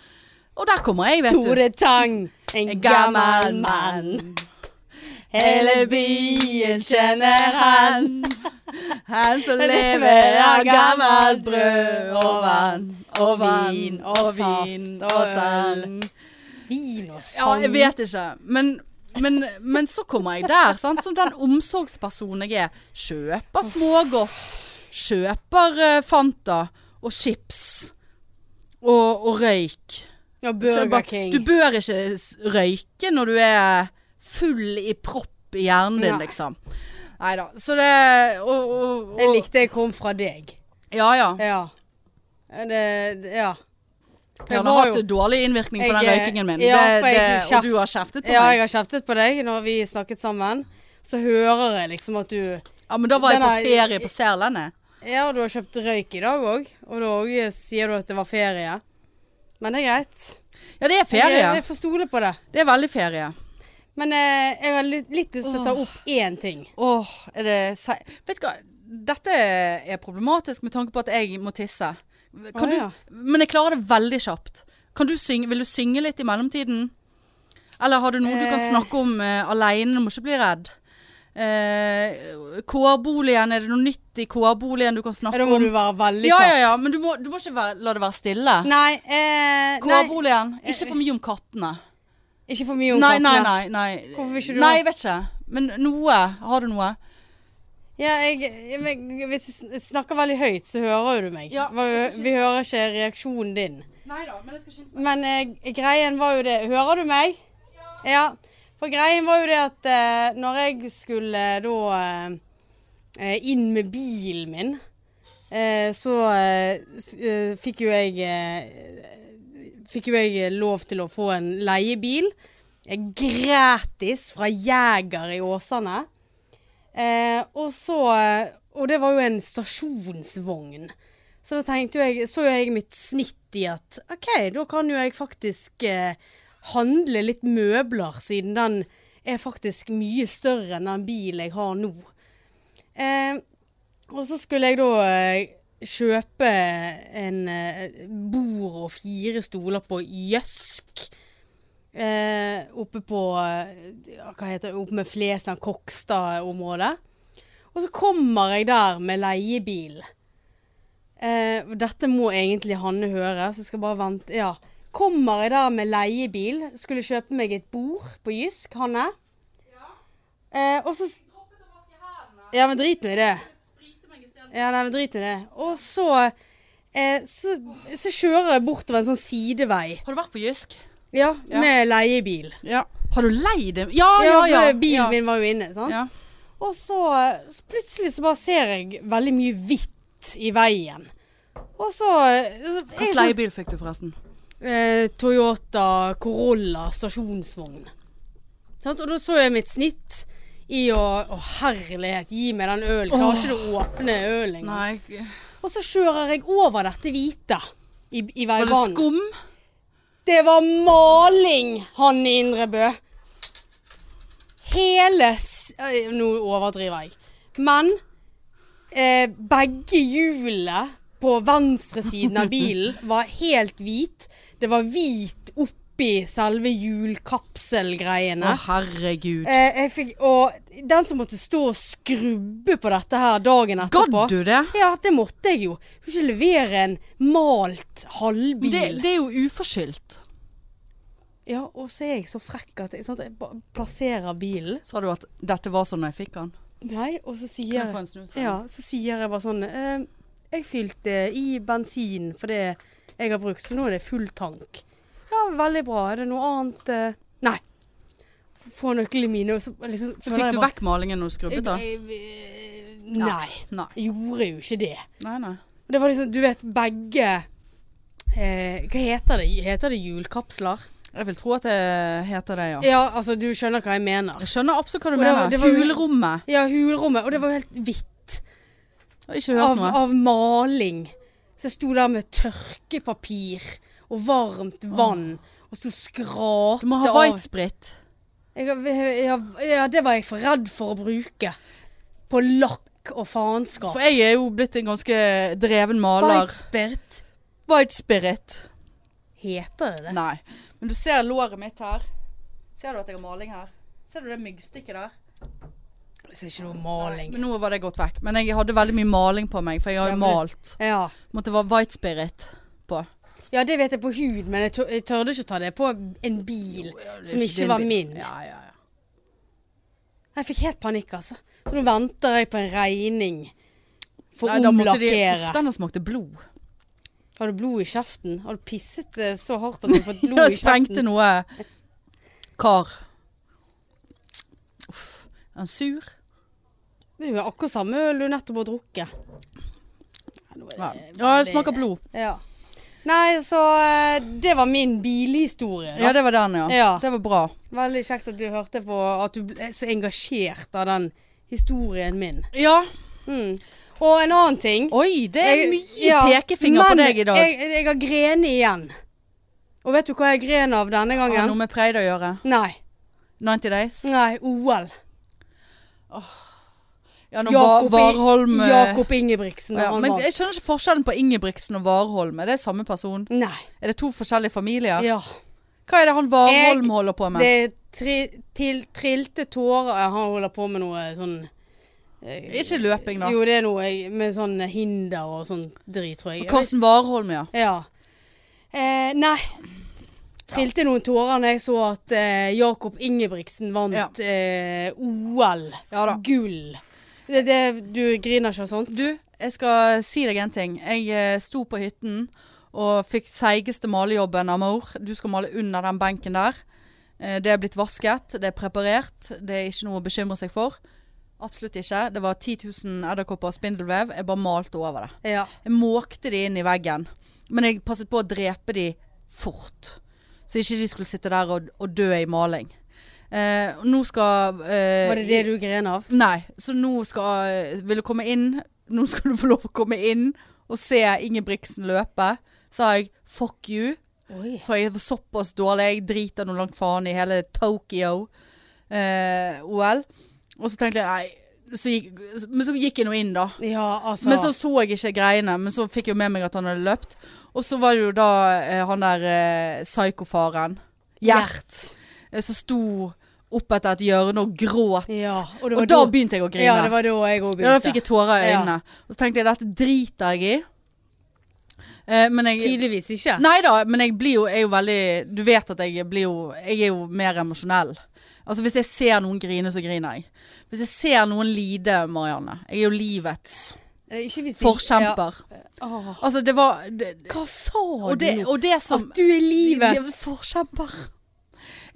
S1: Og der kommer jeg, vet du.
S2: Tore Tang, en gammel mann. Hele byen kjenner han.
S1: Han som
S2: lever av gammelt brød og vann
S1: og
S2: vin og vin og sand. Vin og
S1: Ja,
S2: sang.
S1: jeg vet ikke. Men, men, men så kommer jeg der, sant? som den omsorgspersonen jeg er. Kjøper smågodt. Kjøper eh, Fanta og chips. Og, og røyk. Så
S2: Ja,
S1: jeg
S2: Burger
S1: bare,
S2: King.
S1: Du bør ikke s- røyke når du er full i propp i hjernen din,
S2: Nei.
S1: liksom. Nei da. Så det og, og, og,
S2: Jeg likte jeg kom fra deg.
S1: Ja ja.
S2: Ja. Det, det- ja.
S1: Ja,
S2: Jeg
S1: Han har
S2: var
S1: hatt
S2: jo-
S1: dårlig innvirkning på
S2: Jeg,
S1: den
S2: eh,
S1: røykingen min.
S2: ja, for
S1: det,
S2: jeg
S1: det,
S2: kjeft-
S1: og du har kjeftet på
S2: Ja, jeg
S1: meg.
S2: har kjeftet på deg når vi snakket sammen. Så hører jeg liksom at du
S1: Ja, men da var jeg på
S2: Den er-
S1: ferie på Sørlandet.
S2: Ja, du har kjøpt røyk i dag òg, og da også sier du at det var ferie. Men det er greit.
S1: Ja, det er
S2: Jeg,
S1: ferie.
S2: jeg får stole på det.
S1: Det er veldig ferie.
S2: Men eh, jeg har litt, litt lyst til å ta opp én ting.
S1: Åh, er det sei... Vet du hva, dette er problematisk med tanke på at jeg må tisse. Kan
S2: Å,
S1: du...
S2: ja.
S1: Men jeg klarer det veldig kjapt. Kan du synge... Vil du synge litt i mellomtiden? Eller har du noe du kan
S2: Eh.
S1: snakke om eh, alene? Du må ikke bli redd. Eh, kårboligen, er det noe nytt i kårboligen du kan
S2: Ja,
S1: snakke
S2: Da må
S1: om?
S2: du være veldig
S1: Ja,
S2: kjapp.
S1: ja, ja, men du må, du må ikke være, la det være stille.
S2: Nei, eh, nei,
S1: Kårboligen, ikke for mye om kattene.
S2: ikke for mye om
S1: nei, nei,
S2: kattene.
S1: nei, nei.
S2: Hvorfor vil ikke du
S1: Nei,
S2: ha-
S1: jeg vet ikke. Men noe, har du noe?
S2: Ja, jeg, jeg, men hvis jeg sn- snakker veldig høyt, så hører jo du meg.
S1: Ja.
S2: Hva- Vi hører ikke reaksjonen din.
S1: Nei da, men jeg skal skynde
S2: Men eh, greien var jo det Hører du meg? Ja. For greien var jo det at eh, når jeg skulle eh, da eh, inn med bilen min, eh, så eh, s- eh, fikk jo jeg eh, Fikk jo jeg eh, lov til å få en leiebil. eh, Gratis fra Jæger i Åsane. Eh, og så eh, Og det var jo en stasjonsvogn. Så da tenkte jo jeg, så jo jeg mitt snitt i at OK, da kan jo jeg faktisk eh, handle litt møbler, siden den er faktisk mye større enn den bilen jeg har nå. Eh, og så skulle jeg da eh, kjøpe en eh, bord og fire stoler på Jøsk. Eh, oppe på eh, Hva heter det? Oppe med Flesland, Kokstad-området. Og så kommer jeg der med leiebil. Eh, og dette må egentlig Hanne høre, så jeg skal bare vente. Ja. Kommer jeg der med leiebil, skulle kjøpe meg et bord på Jysk, Hanne. Eh, og så Ja, men drit nå i det. Ja, nei, men drit i det. Og så, eh, så Så kjører jeg bortover en sånn sidevei.
S1: Har du vært på Jysk?
S2: Ja,
S1: Ja.
S2: med leiebil.
S1: Ja. Har du leid en? Ja,
S2: Ja,
S1: ja,
S2: for
S1: ja.
S2: det- bilen
S1: ja.
S2: min var jo inne, sant.
S1: Ja.
S2: Og så, så plutselig så bare ser jeg veldig mye hvitt i veien. Og så, eh, så jeg
S1: Hvilken
S2: så-
S1: leiebil fikk du forresten?
S2: eh, Toyota Corolla stasjonsvogn. Sant? Og da så jeg mitt snitt i å Å, herlighet, gi meg den ølen. Klarer ikke du å åpne ølen engang?
S1: Nei,
S2: Og så kjører jeg over dette hvite i, i
S1: var det
S2: veibanen.
S1: skum?
S2: Det var maling, Hanne Indrebø. Hele s øy, Nå overdriver jeg. Men eh, begge hjulene på venstresiden av bilen var helt hvit. Det var hvit oppi selve
S1: Å,
S2: hjulkapselgreiene.
S1: herregud.
S2: Eh, jeg fikk, og den som måtte stå og skrubbe på dette her dagen
S1: Gadd
S2: etterpå
S1: du det?
S2: Ja, det måtte jeg jo. Jeg kunne ikke levere en malt halvbil.
S1: det? Det er jo uforskyldt.
S2: Ja, og så er jeg så frekk at jeg, sant, jeg ba- plasserer bilen.
S1: Sa du at 'dette var sånn da jeg fikk den'?
S2: Nei, og så sier
S1: Kan jeg få
S2: jeg,
S1: en sånn. snus?
S2: ja, så sier jeg bare sånn eh, Jeg fylte i bensin for det jeg har brukt, så nå er det full tank. Ja, veldig bra. Er det noe annet eh? Nei. Få nøklene mine, og så liksom Eh,
S1: Fikk du vekk malingen når du skrubbet, da?
S2: Nei.
S1: Nei.
S2: Jeg gjorde jo ikke det.
S1: Nei, nei.
S2: Og Det var liksom, du vet, begge eh, Hva heter det? Heter det hjulkapsler?
S1: Jeg vil tro at det heter det, ja.
S2: Ja, altså, du skjønner hva jeg mener.
S1: Jeg skjønner absolutt hva du
S2: Og det var-
S1: mener.
S2: det var jo-
S1: Hulrommet.
S2: Ja, hulrommet. Og det var jo helt hvitt
S1: Jeg har Ikke hørt
S2: av,
S1: noe.
S2: av maling. Så jeg sto der med tørkepapir og varmt vann og sto og skrapte
S1: Du må ha
S2: av-
S1: whitesprit.
S2: Jeg, ja, ja, det var jeg for redd for å bruke. På lakk og faenskap.
S1: For jeg er jo blitt en ganske dreven maler.
S2: Whitespirit.
S1: Whitespirit.
S2: Heter det det?
S1: Nei. Men du ser låret mitt her. Ser du at jeg har maling her? Ser du det myggstikket der?
S2: Det er ikke noe maling.
S1: Men nå var det gått vekk. Men jeg hadde veldig mye maling på meg, for jeg har
S2: Ja,
S1: jo
S2: men du-
S1: malt.
S2: Ja.
S1: Måtte være white spirit på.
S2: ja, det vet jeg på hud, men jeg, tør, jeg tørde ikke å ta det på en bil som ikke var min.
S1: Ja, ja, ja.
S2: Jeg fikk helt panikk, altså. Så nå venter jeg på en regning for
S1: Nei,
S2: å
S1: da måtte de Uff,
S2: omlakkere.
S1: den smakte blod.
S2: Har du blod i kjeften? Har du pisset eh, så hardt at du har fått blod i
S1: Jeg sprengte
S2: kjeften?
S1: noe kar. Uff. Er han sur?
S2: Det er jo akkurat samme øl du nettopp har drukket. Ja, nå
S1: Ja,
S2: er det
S1: ja det
S2: veldig-
S1: smaker blod.
S2: Ja. Nei, så eh, det var min bilhistorie. Da.
S1: Ja, det var den, ja.
S2: Ja.
S1: Det var bra.
S2: Veldig kjekt at du hørte på at du ble så engasjert av den historien min.
S1: Ja.
S2: Mm. Og en annen ting.
S1: Oi, det er
S2: Jeg-
S1: mye
S2: ja,
S1: pekefinger på
S2: men
S1: deg i dag.
S2: Jeg, jeg har grenet igjen. Og vet du hva jeg gren av denne
S1: Har det
S2: gangen?
S1: noe med Preid å gjøre?
S2: Nei.
S1: 90 Days?
S2: Nei, OL.
S1: Ja, når
S2: Jakob,
S1: Va-
S2: I-
S1: Warholm eh,
S2: Jakob Ingebrigtsen.
S1: ja,
S2: Ja, han
S1: Men jeg
S2: vant.
S1: skjønner ikke forskjellen på Ingebrigtsen og Warholm. Er det samme person?
S2: Nei.
S1: Er det to forskjellige familier?
S2: Ja.
S1: Hva er det han Warholm
S2: Jeg-
S1: holder på med?
S2: Det er tri, til, trilte tårer Han holder på med noe sånn eh,
S1: Ikke løping, da.
S2: Jo, det er noe jeg- med sånn hinder og sånn drit, tror jeg.
S1: Karsten Warholm, ja.
S2: Ja. Eh, nei. Trilte noen tårer når jeg så at eh, Jakob Ingebrigtsen vant
S1: Ja.
S2: eh, OL.
S1: Ja da.
S2: Gull. Det, det, du griner ikke av sånt?
S1: Du, jeg skal si deg en ting. Jeg eh, sto på hytten og fikk seigeste malejobben av mor. Du skal male under den benken der. Eh, Det er blitt vasket, det er preparert. Det er ikke noe å bekymre seg for. Absolutt ikke. Det var 10 000 edderkopper og spindelvev. Jeg bare malte over det.
S2: Ja.
S1: Jeg måkte de inn i veggen. Men jeg passet på å drepe de fort. Så ikke de skulle sitte der og, og dø i maling. Eh, og nå skal eh,
S2: Var det det du gren av?
S1: Nei, så nå skal Vil du komme inn? Nå skal du få lov å komme inn og se Ingebrigtsen løpe. Sa jeg fuck you,
S2: Oi.
S1: for jeg var såpass dårlig. Jeg driter noe langt faen i hele Tokyo eh, OL. Og så tenkte jeg nei, så gikk, men så gikk jeg nå inn, da.
S2: Ja, altså.
S1: Men så så jeg ikke greiene, men så fikk jeg jo med meg at han hadde løpt. Og så var det jo da eh, han der eh, psykofaren, Gjert, eh, som sto opp etter et hjørne og gråt.
S2: Ja, og
S1: og,
S2: det var
S1: da
S2: da-
S1: begynte jeg å grine.
S2: Ja, det var da jeg òg begynte.
S1: Ja, da fikk jeg tårer i øynene. Og så tenkte jeg dette driter jeg i. Eh, men jeg
S2: Tydeligvis ikke.
S1: Nei da, men jeg blir jo, er jo veldig Du vet at jeg blir jo Jeg er jo mer emosjonell. Altså Hvis jeg ser noen grine, så griner jeg. Hvis jeg ser noen lide, Marianne Jeg er jo livets
S2: Eh, Ikke hvis jeg-
S1: forkjemper.
S2: Ja. Åh.
S1: Altså, det var det,
S2: Hva sa
S1: og, det,
S2: du nå?
S1: og det som
S2: At du er livet.
S1: Jeg er Forkjemper.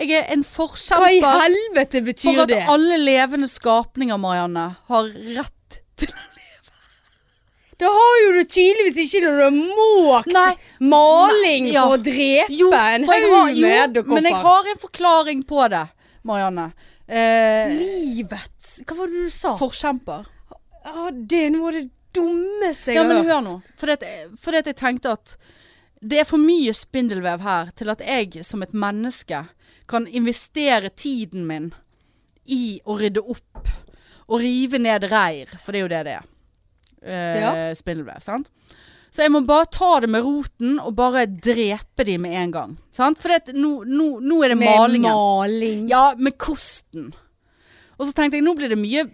S1: Jeg er en
S2: Hva i
S1: forkjemper
S2: helvete
S1: for
S2: betyr
S1: at
S2: det?
S1: alle levende skapninger, Marianne, har rett til
S2: Da har jo du tydeligvis ikke når du har måkt
S1: Nei.
S2: maling
S1: Nei, ja.
S2: for å drepe en
S1: for jeg
S2: haug
S1: har-
S2: med
S1: jo,
S2: edderkopper.
S1: men jeg har en forklaring på det, Marianne. Eh,
S2: Livet Hva var det du sa?
S1: forkjemper.
S2: Ja, det er noe av det dummeste jeg
S1: Ja, men
S2: har hørt.
S1: hør nå. Fordi at, fordi at jeg tenkte at det er for mye spindelvev her til at jeg som et menneske kan investere tiden min i å rydde opp og rive ned reir, for det er jo det det er. Eh,
S2: Ja.
S1: Spindelvev, sant? Så jeg må bare ta det med roten og bare drepe de med en gang. Sant? For det, at nå, nå, nå er det
S2: Med
S1: malingen.
S2: maling.
S1: Ja, med kosten. Og så tenkte jeg, nå blir det mye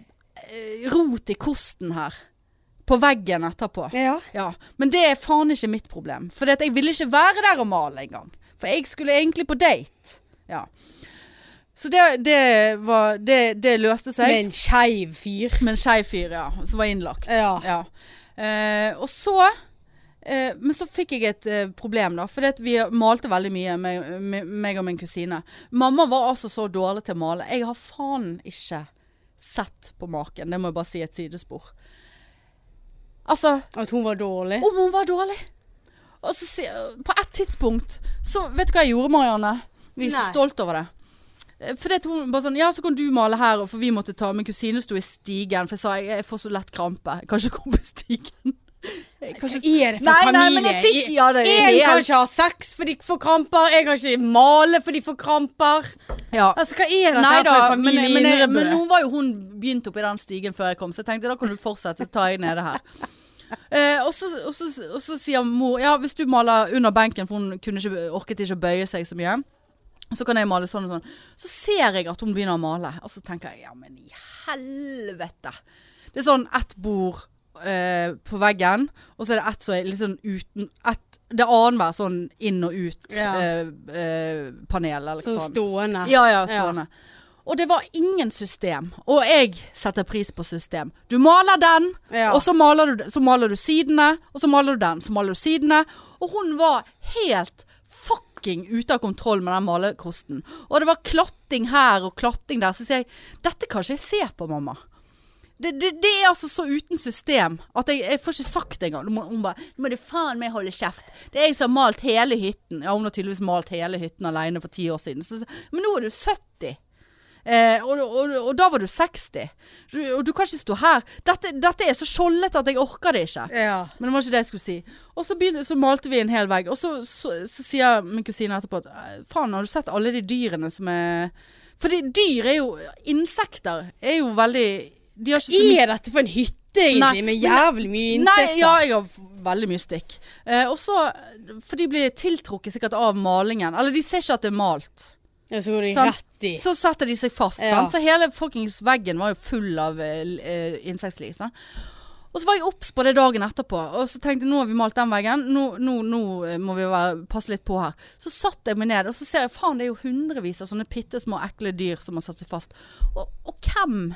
S1: eh, rot i kosten her. På veggen etterpå.
S2: Ja.
S1: Ja, men det er faen ikke mitt problem. For jeg ville ikke være der og male engang. For jeg skulle egentlig på date. Ja. Så det, det, var, det, det løste seg.
S2: Med en skeiv fyr.
S1: Med en skeiv fyr, ja. Som var innlagt.
S2: Ja.
S1: Eh, og så eh, Men så fikk jeg et eh, problem, da. For vi malte veldig mye, meg, meg- meg og min kusine. Mamma var altså så dårlig til å male. Jeg har faen ikke sett på maken. Det må jeg bare si et sidespor. Altså,
S2: At hun var dårlig.
S1: om hun var dårlig. Og så si- på et tidspunkt så Vet du hva jeg gjorde, Marianne? Jeg er så
S2: Nei.
S1: stolt over det. Eh, Fordi at hun bare sånn Ja, så kan du male her, og for vi måtte ta Min kusine sto i stigen, for jeg sa jeg, jeg får så lett krampe. Jeg kan ikke gå på stigen. Kanskje-
S2: Hva er det for
S1: Nei,
S2: familie?
S1: nei, men jeg fikk- ja, det er
S2: en
S1: helt-
S2: kan ikke ha sex fordi de får kramper, en kan ikke male fordi de får kramper.
S1: Ja.
S2: Altså, hva er dette
S1: Nei
S2: her
S1: da,
S2: for en
S1: men,
S2: familie i
S1: men, men,
S2: Indrebø?
S1: nå var jo hun begynt oppi den stigen før jeg kom, så jeg tenkte da kan du fortsette, ta jeg nede her. Eh, og, så, og, så, og så sier mor Ja, hvis du maler under benken, for hun kunne ikke, orket ikke å bøye seg så mye. Så kan jeg male sånn og sånn. Så ser jeg at hun begynner å male. Og så tenker jeg ja, men i helvete. Det er sånn ett bord eh, på veggen, og så er det ett som er litt sånn uten ett, Det er annenhver sånn inn og
S2: Ja.
S1: ut-panel, eller hva
S2: Sånn
S1: faen.
S2: stående.
S1: Ja, ja, stående. Og det var ingen system. Og jeg setter pris på system. Du maler den,
S2: Ja.
S1: og så maler, du, så maler du sidene, og så maler du den, så maler du sidene. Og hun var helt fucking ute av kontroll med den malekosten. Og det var klatting her og klatting der. Så sier jeg, dette kan ikke jeg se på, mamma. Det, det, det er altså så uten system at jeg, jeg får ikke sagt det engang. Hun må- Hun bare 'Nå må du faen meg holde kjeft'. Det er jeg som har malt hele hytten. Ja, hun har tydeligvis malt hele hytten alene for ti år siden. Så, så- men nå er du 70. Eh, og, og, og da var du 60. Du, og du kan ikke stå her. Dette, dette er så skjoldete at jeg orker det ikke.
S2: Ja.
S1: Men det var ikke det jeg skulle si. Og så, begynte, så malte vi en hel vegg. Og så, så, så sier min kusine etterpå at «Eh, faen, har du sett alle de dyrene som er Fordi dyr er jo Insekter er jo veldig De har ikke så mye
S2: Er dette for en hytte, egentlig,
S1: Nei,
S2: med jævlig mye insekter?
S1: Nei, ja, jeg har f- veldig mye stikk. Eh, og så For de blir tiltrukket sikkert av malingen. Eller de ser ikke at det er malt.
S2: Ja, så går de
S1: Sant.
S2: rett i.
S1: Så setter de seg fast.
S2: Ja.
S1: Sant? Så hele fuckings veggen var jo full av eh, l- eh, insektliv. Sant? Og så var jeg obs på det dagen etterpå, og så tenkte jeg nå har vi malt den veggen, nå, nå, nå eh, må vi være, passe litt på her. Så satt jeg meg ned, og så ser jeg faen det er jo hundrevis av sånne bitte små ekle dyr som har satt seg fast. Og, og hvem?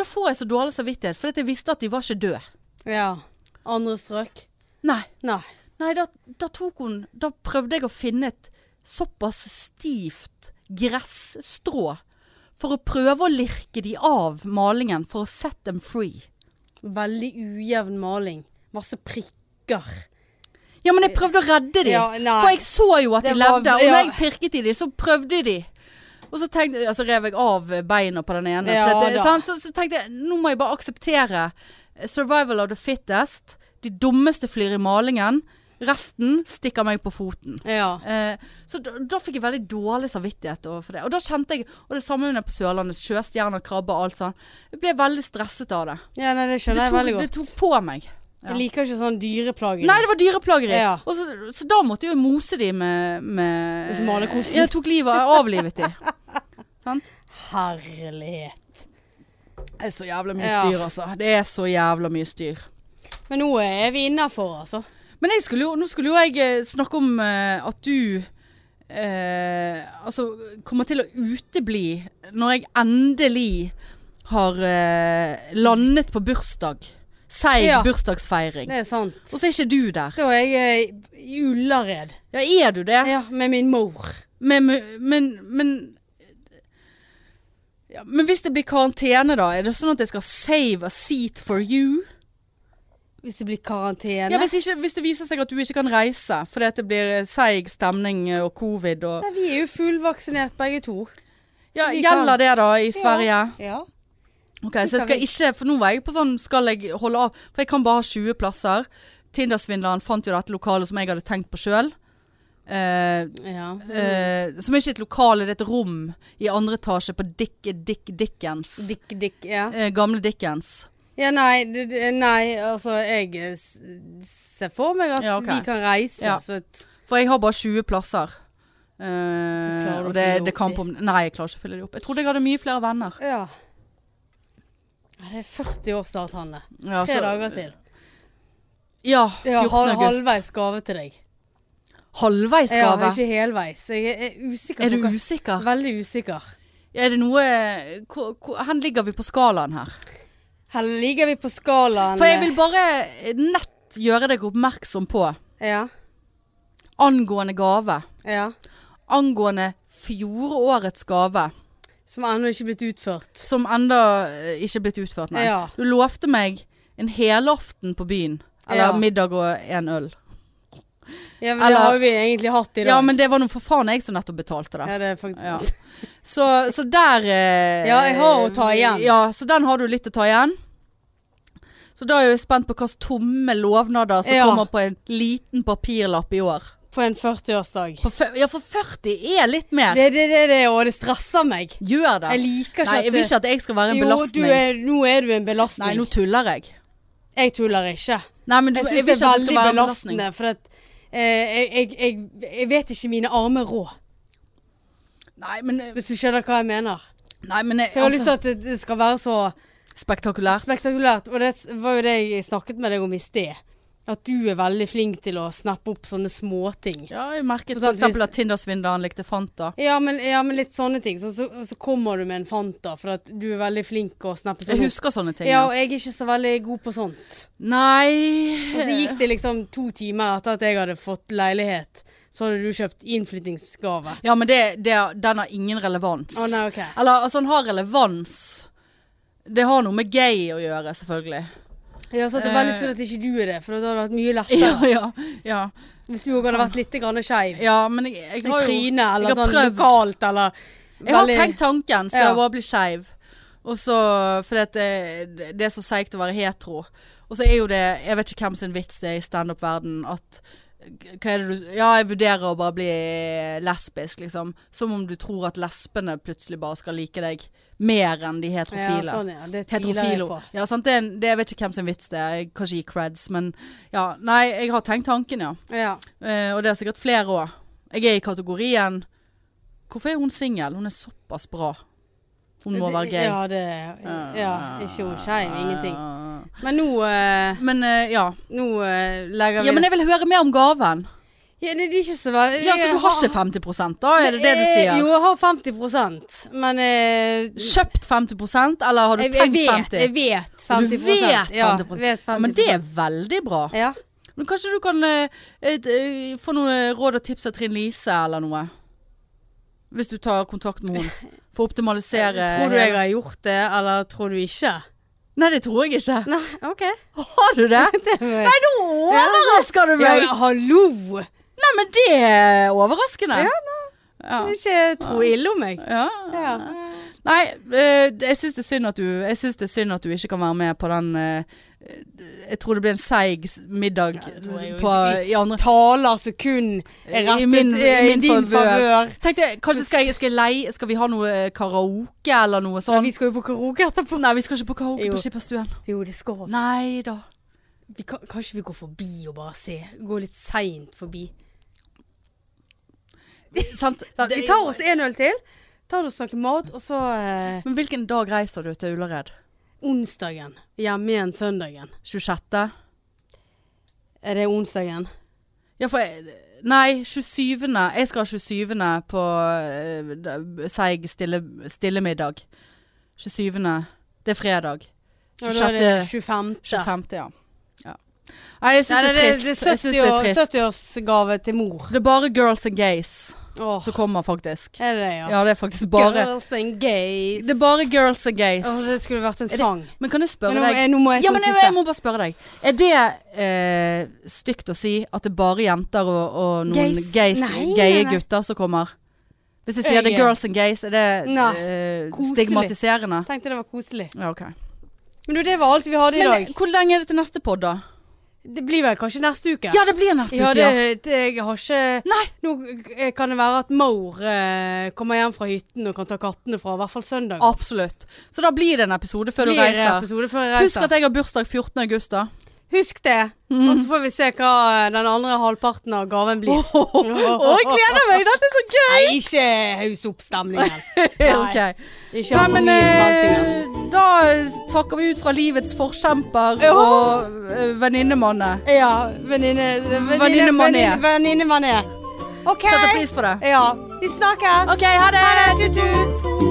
S1: Da får jeg så dårlig samvittighet, for jeg visste at de var ikke døde.
S2: Ja. Andre strøk?
S1: Nei.
S2: Nei.
S1: Nei, da, da tok hun Da prøvde jeg å finne et såpass stivt gressstrå for å prøve å lirke de av malingen for å set them free.
S2: Veldig ujevn maling. Masse prikker.
S1: Ja, men jeg prøvde å redde de.
S2: Ja, nei.
S1: for jeg så jo at de
S2: Det var-
S1: levde. Og
S2: ja.
S1: når jeg pirket i de, så prøvde de. Og så tenkte, ja, så rev jeg av beina på den ene.
S2: Ja,
S1: for at det,
S2: da.
S1: sant? Så, så tenkte jeg nå må jeg bare akseptere eh, survival of the fittest. De dummeste flyr i malingen. Resten stikker meg på foten.
S2: Ja.
S1: Eh, så da, da fikk jeg veldig dårlig samvittighet overfor det. Og da kjente jeg Og det samme under på Sørlandet. Sjøstjerner, krabbe og alt sånn. Jeg ble veldig stresset av det.
S2: Ja, nei, det
S1: Det
S2: skjønner jeg
S1: tok,
S2: veldig
S1: det
S2: godt.
S1: tok på meg. Ja.
S2: Jeg liker ikke sånn dyreplageri.
S1: Nei, det var dyreplageri.
S2: Ja.
S1: Og så, så da måtte jeg jo mose de med, med
S2: Og så malerkosten.
S1: Jeg tok livet av Avlivet de. Sant?
S2: Herlighet.
S1: Det er så jævla
S2: mye styr,
S1: altså. Det er så jævla mye styr.
S2: Men nå er vi innafor, altså.
S1: Men jeg skulle jo, nå skulle jo jeg eh, snakke om eh, at du eh, altså, kommer til å utebli når jeg endelig har eh, landet på bursdag. Seig
S2: Ja.
S1: bursdagsfeiring.
S2: Det er sant.
S1: Og så er ikke du der.
S2: Da er jeg eh, i Ullared.
S1: Ja, er du det?
S2: Ja, med min mor.
S1: Men, men, men ja, Men hvis det blir karantene, da? Er det sånn at jeg skal save a seat for you?
S2: Hvis det blir karantene.
S1: Ja, hvis, ikke, hvis det viser seg at du ikke kan reise fordi at det blir eh, seig stemning eh, og covid og
S2: Nei, vi er jo fullvaksinert begge to.
S1: Ja,
S2: Så vi
S1: gjelder
S2: kan-
S1: det da i Sverige?
S2: Ja.
S1: Ok, så jeg skal ikke, for nå var jeg på sånn, skal jeg holde av, for jeg kan bare ha 20 plasser. Tindersvindleren fant jo dette lokalet som jeg hadde tenkt på selv. Eh,
S2: ja.
S1: eh, som er ikke et lokale, det er et rom i andre etasje på Dick, Dick Dickens.
S2: Dikk, dikk, ja.
S1: Eh, gamle Dickens.
S2: Ja, nei, det- det- nei, altså jeg eh, s- ser for meg at
S1: Ja, ok.
S2: vi kan reise.
S1: Ja.
S2: Så at,
S1: For jeg har bare 20 plasser. Eh,
S2: klarer å
S1: og
S2: fylle
S1: det,
S2: opp
S1: det kan på, nei, jeg klarer ikke å fylle det opp. Jeg trodde jeg hadde mye flere venner.
S2: ja. ja. Det er 40 år snart, Hanne.
S1: Ja,
S2: Tre
S1: så-
S2: dager til.
S1: Ja,
S2: Ja,
S1: 14.
S2: hal
S1: Altså, eh, august.
S2: halvveis gave til deg.
S1: Halvveis
S2: Ja,
S1: gave.
S2: ikke helveis. Jeg er, er usikker
S1: er du
S2: på hva
S1: usikker?
S2: Veldig usikker.
S1: Er det noe hvor, hvor, Hvor ligger vi på skalaen her?
S2: Her ligger vi på skalaen
S1: For jeg vil bare nett gjøre deg oppmerksom på
S2: Ja.
S1: angående gave.
S2: ja.
S1: Angående fjorårets gave,
S2: Som ennå ikke er blitt utført.
S1: som enda eh, ikke er blitt utført, nei.
S2: Ja.
S1: Du lovte meg en helaften på byen. Eller
S2: Ja.
S1: middag og en øl.
S2: Ja, men
S1: Eller-
S2: Det har jo vi egentlig hatt i dag.
S1: Ja, men det var nå for faen jeg som nettopp betalte det.
S2: Ja, det er faktisk
S1: Ja. Så, så der eh,
S2: Ja, jeg har å ta igjen.
S1: Ja, så den har du litt å ta igjen. Så da er jeg spent på hvilke tomme lovnader som
S2: Ja.
S1: kommer på en liten papirlapp i år.
S2: På en 40-årsdag.
S1: På fø- ja, for 40 er litt mer.
S2: Det er det, det, det, og det stresser meg.
S1: Gjør det.
S2: Jeg liker ikke
S1: Nei,
S2: at
S1: jeg vil ikke at jeg skal være en
S2: Jo, du
S1: belastning.
S2: er, nå er du en
S1: Nei,
S2: belastning.
S1: nå tuller jeg.
S2: Jeg tuller ikke.
S1: Nei, men du,
S2: Jeg
S1: jeg,
S2: syns
S1: vil
S2: det er
S1: ikke at det
S2: veldig
S1: skal være en belastning.
S2: belastende, for at, eh, jeg, jeg, jeg, jeg vet ikke mine armer råd.
S1: Nei, men,
S2: Hvis du skjønner hva jeg mener.
S1: nei, men jeg,
S2: Jeg har lyst
S1: altså,
S2: til at det, det skal være så
S1: Spektakulært.
S2: spektakulært. Og det s- var jo det jeg snakket med deg om i sted. At du er veldig flink til å snappe opp sånne småting.
S1: Ja, jeg merket
S2: For
S1: for
S2: sant,
S1: eksempel
S2: hvis-
S1: at Tinder-svindleren likte Fanta.
S2: Ja, men, ja, men litt sånne ting. Så, så, så kommer du med en Fanta, for at du er veldig flink å snappe
S1: Jeg
S2: sånn opp.
S1: husker sånne ting.
S2: Ja,
S1: Ja.
S2: og jeg er ikke så veldig god på sånt.
S1: Nei
S2: Og så gikk det liksom to timer etter at jeg hadde fått leilighet, så hadde du kjøpt innflyttingsgave.
S1: Ja, men det, det, den har ingen relevans.
S2: Å nei, ok.
S1: Eller altså, den har relevans. Det har noe med gay å gjøre, selvfølgelig.
S2: Ja, så at det er
S1: Eh.
S2: veldig synd at ikke du er det, for da hadde det vært mye
S1: Ja,
S2: lettere.
S1: ja, ja.
S2: Hvis du òg hadde vært litt grann skeiv.
S1: ja men jeg, jeg
S2: I
S1: har jo
S2: trynet
S1: jeg
S2: eller
S1: har
S2: sånn
S1: prøvd.
S2: lokalt eller
S1: Jeg har
S2: veldig-
S1: tenkt tanken, skal
S2: Ja.
S1: jeg bare bli skeiv? Og så Fordi at eh, det, det er så seigt å være hetero. Og så er jo det Jeg vet ikke hvem sin vits det er i standup-verden at hva er det du, Ja, jeg vurderer å bare bli lesbisk, liksom. Som om du tror at lesbene plutselig bare skal like deg mer enn de
S2: ja,
S1: heterofile.
S2: sånn, ja. Det tviler jeg
S1: Heterofilo.
S2: på.
S1: Ja, sant? Det, er en- det, jeg vet ikke hvem sin vits det er. Jeg kan ikke gi creds, men ja. Nei, jeg har tenkt tanken, ja.
S2: Ja.
S1: Eh, og det er sikkert flere òg. Jeg er i kategorien Hvorfor er hun singel? Hun er såpass bra. Hun må
S2: Det-
S1: være Ah. gay.
S2: Ja, det Ja, ikke hun skeiv. Ingenting. Men nå, eh,
S1: Men eh, ja.
S2: nå eh, legger vi
S1: ja. Men jeg vil høre mer om gaven.
S2: ja, det, det er ikke så veldig
S1: Ja, Så du har ikke 50 da? Er det det du
S2: Eh,
S1: sier?
S2: Jo, jeg har 50 men eh,
S1: Kjøpt 50 eller har du
S2: jeg,
S1: tenkt
S2: jeg, vet,
S1: 50?
S2: jeg vet 50
S1: Du vet
S2: Ja,
S1: 50%.
S2: jeg vet 50
S1: Ja, men det er veldig bra.
S2: ja.
S1: Men kanskje du kan eh, et, eh, få noen råd og tips av Trine Lise eller noe? Hvis du tar kontakt med henne. For å optimalisere
S2: Tror du jeg har gjort det, eller tror du ikke?
S1: Nei, det tror jeg ikke.
S2: Nei, OK.
S1: Har du det?
S2: Nei,
S1: Nå overrasker du
S2: ja,
S1: meg!
S2: men hallo!
S1: Nei, men det er overraskende.
S2: Ja,
S1: Ja.
S2: Ikke tro ille om meg.
S1: Ja.
S2: Ja.
S1: Nei, eh, jeg syns det er synd at du Jeg synes det er synd at du ikke kan være med på den eh, Jeg tror det blir en seig s- middag
S2: det tror jeg jo.
S1: på, i andre
S2: Taler som kun er rettet
S1: I
S2: eh, i,
S1: min- eh, i min
S2: din
S1: favør.
S2: favør.
S1: Tenkte jeg, kanskje skal, jeg, skal, jeg leie, skal vi ha noe eh, karaoke eller noe
S2: Ja,
S1: sånt?
S2: vi skal jo på karaoke etterpå.
S1: Nei, vi skal ikke på karaoke
S2: Jo.
S1: på Skipperstuen.
S2: Jo, det skal vi.
S1: Nei da.
S2: vi kan, kanskje vi går forbi og bare ser. Går litt seint forbi.
S1: Sant?
S2: Da, vi tar oss en øl til. Tar oss noe mat, og så eh,
S1: Men hvilken dag reiser du til Ullared?
S2: onsdagen. Hjemme igjen søndagen.
S1: 26.?
S2: Er det onsdagen?
S1: Ja, for jeg-
S2: eh,
S1: Nei, 27. Jeg skal 27. på eh, d- seig stille, stille middag. 27. Det er fredag.
S2: Ja, da er det
S1: 26.
S2: 25.
S1: 25. Ja. ja. Nei, jeg
S2: Nei,
S1: syns det
S2: det,
S1: er
S2: det,
S1: trist.
S2: det
S1: Jeg synes det er
S2: er
S1: trist.
S2: 70-årsgave til mor.
S1: Det er bare girls and gays
S2: Åh,
S1: som kommer, faktisk.
S2: er det det, ja?
S1: Ja, det er faktisk bare
S2: Girls and gays.
S1: Det er bare girls and gays.
S2: Åh, det skulle vært en
S1: det-
S2: sang.
S1: Men kan jeg spørre
S2: Men nå,
S1: deg
S2: jeg, nå må jeg
S1: Ja,
S2: snart
S1: men jeg,
S2: tisse.
S1: jeg må bare spørre deg. Er det eh, stygt å si at det er bare jenter og, og noen
S2: Gays?
S1: gays,
S2: Nei,
S1: gaye
S2: nei, nei.
S1: gutter som kommer? Hvis jeg sier det
S2: Jeg-
S1: er girls and gays, er det
S2: Nei,
S1: eh,
S2: koselig.
S1: stigmatiserende?
S2: Tenkte det var koselig.
S1: Ja, ok.
S2: Men du, det var alt vi hadde i
S1: Men
S2: dag.
S1: hvor lenge er det til neste podd, da?
S2: Det blir vel kanskje neste uke?
S1: Ja, det blir neste
S2: Ja,
S1: uke.
S2: det,
S1: Ja.
S2: det, jeg har ikke
S1: Nei!
S2: Nå eh, kan det være at Maur eh, kommer hjem fra hytten og kan ta kattene fra, i hvert fall søndag.
S1: Absolutt. Så da blir det en episode før du reiser.
S2: episode før jeg
S1: Husk
S2: reiser.
S1: at jeg har bursdag 14. august, da.
S2: Husk det. Mhm. Og så får vi se hva eh, den andre halvparten av gaven blir.
S1: Å, jeg gleder meg! Dette er så gøy!
S2: Nei, ikke haus opp stemningen. Nei,
S1: Ok.
S2: ikke
S1: Nei,
S2: for
S1: men
S2: mye
S1: eh,
S2: ventingen.
S1: da takker vi ut fra livets forkjemper
S2: Ja.
S1: og eh, venninnemanne.
S2: Ja, venninne...
S1: Venninne Mané.
S2: venninne- Venninne Mané. OK.
S1: Setter pris på det.
S2: Ja, vi snakkes.
S1: OK, ha det!
S2: Ha det, tut-tut.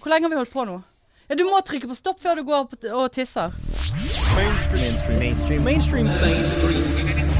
S1: Hvor lenge har vi holdt på nå? Ja, du må trykke på stopp før du går opp og tisser.
S3: mainstream mainstream mainstream mainstream mainstream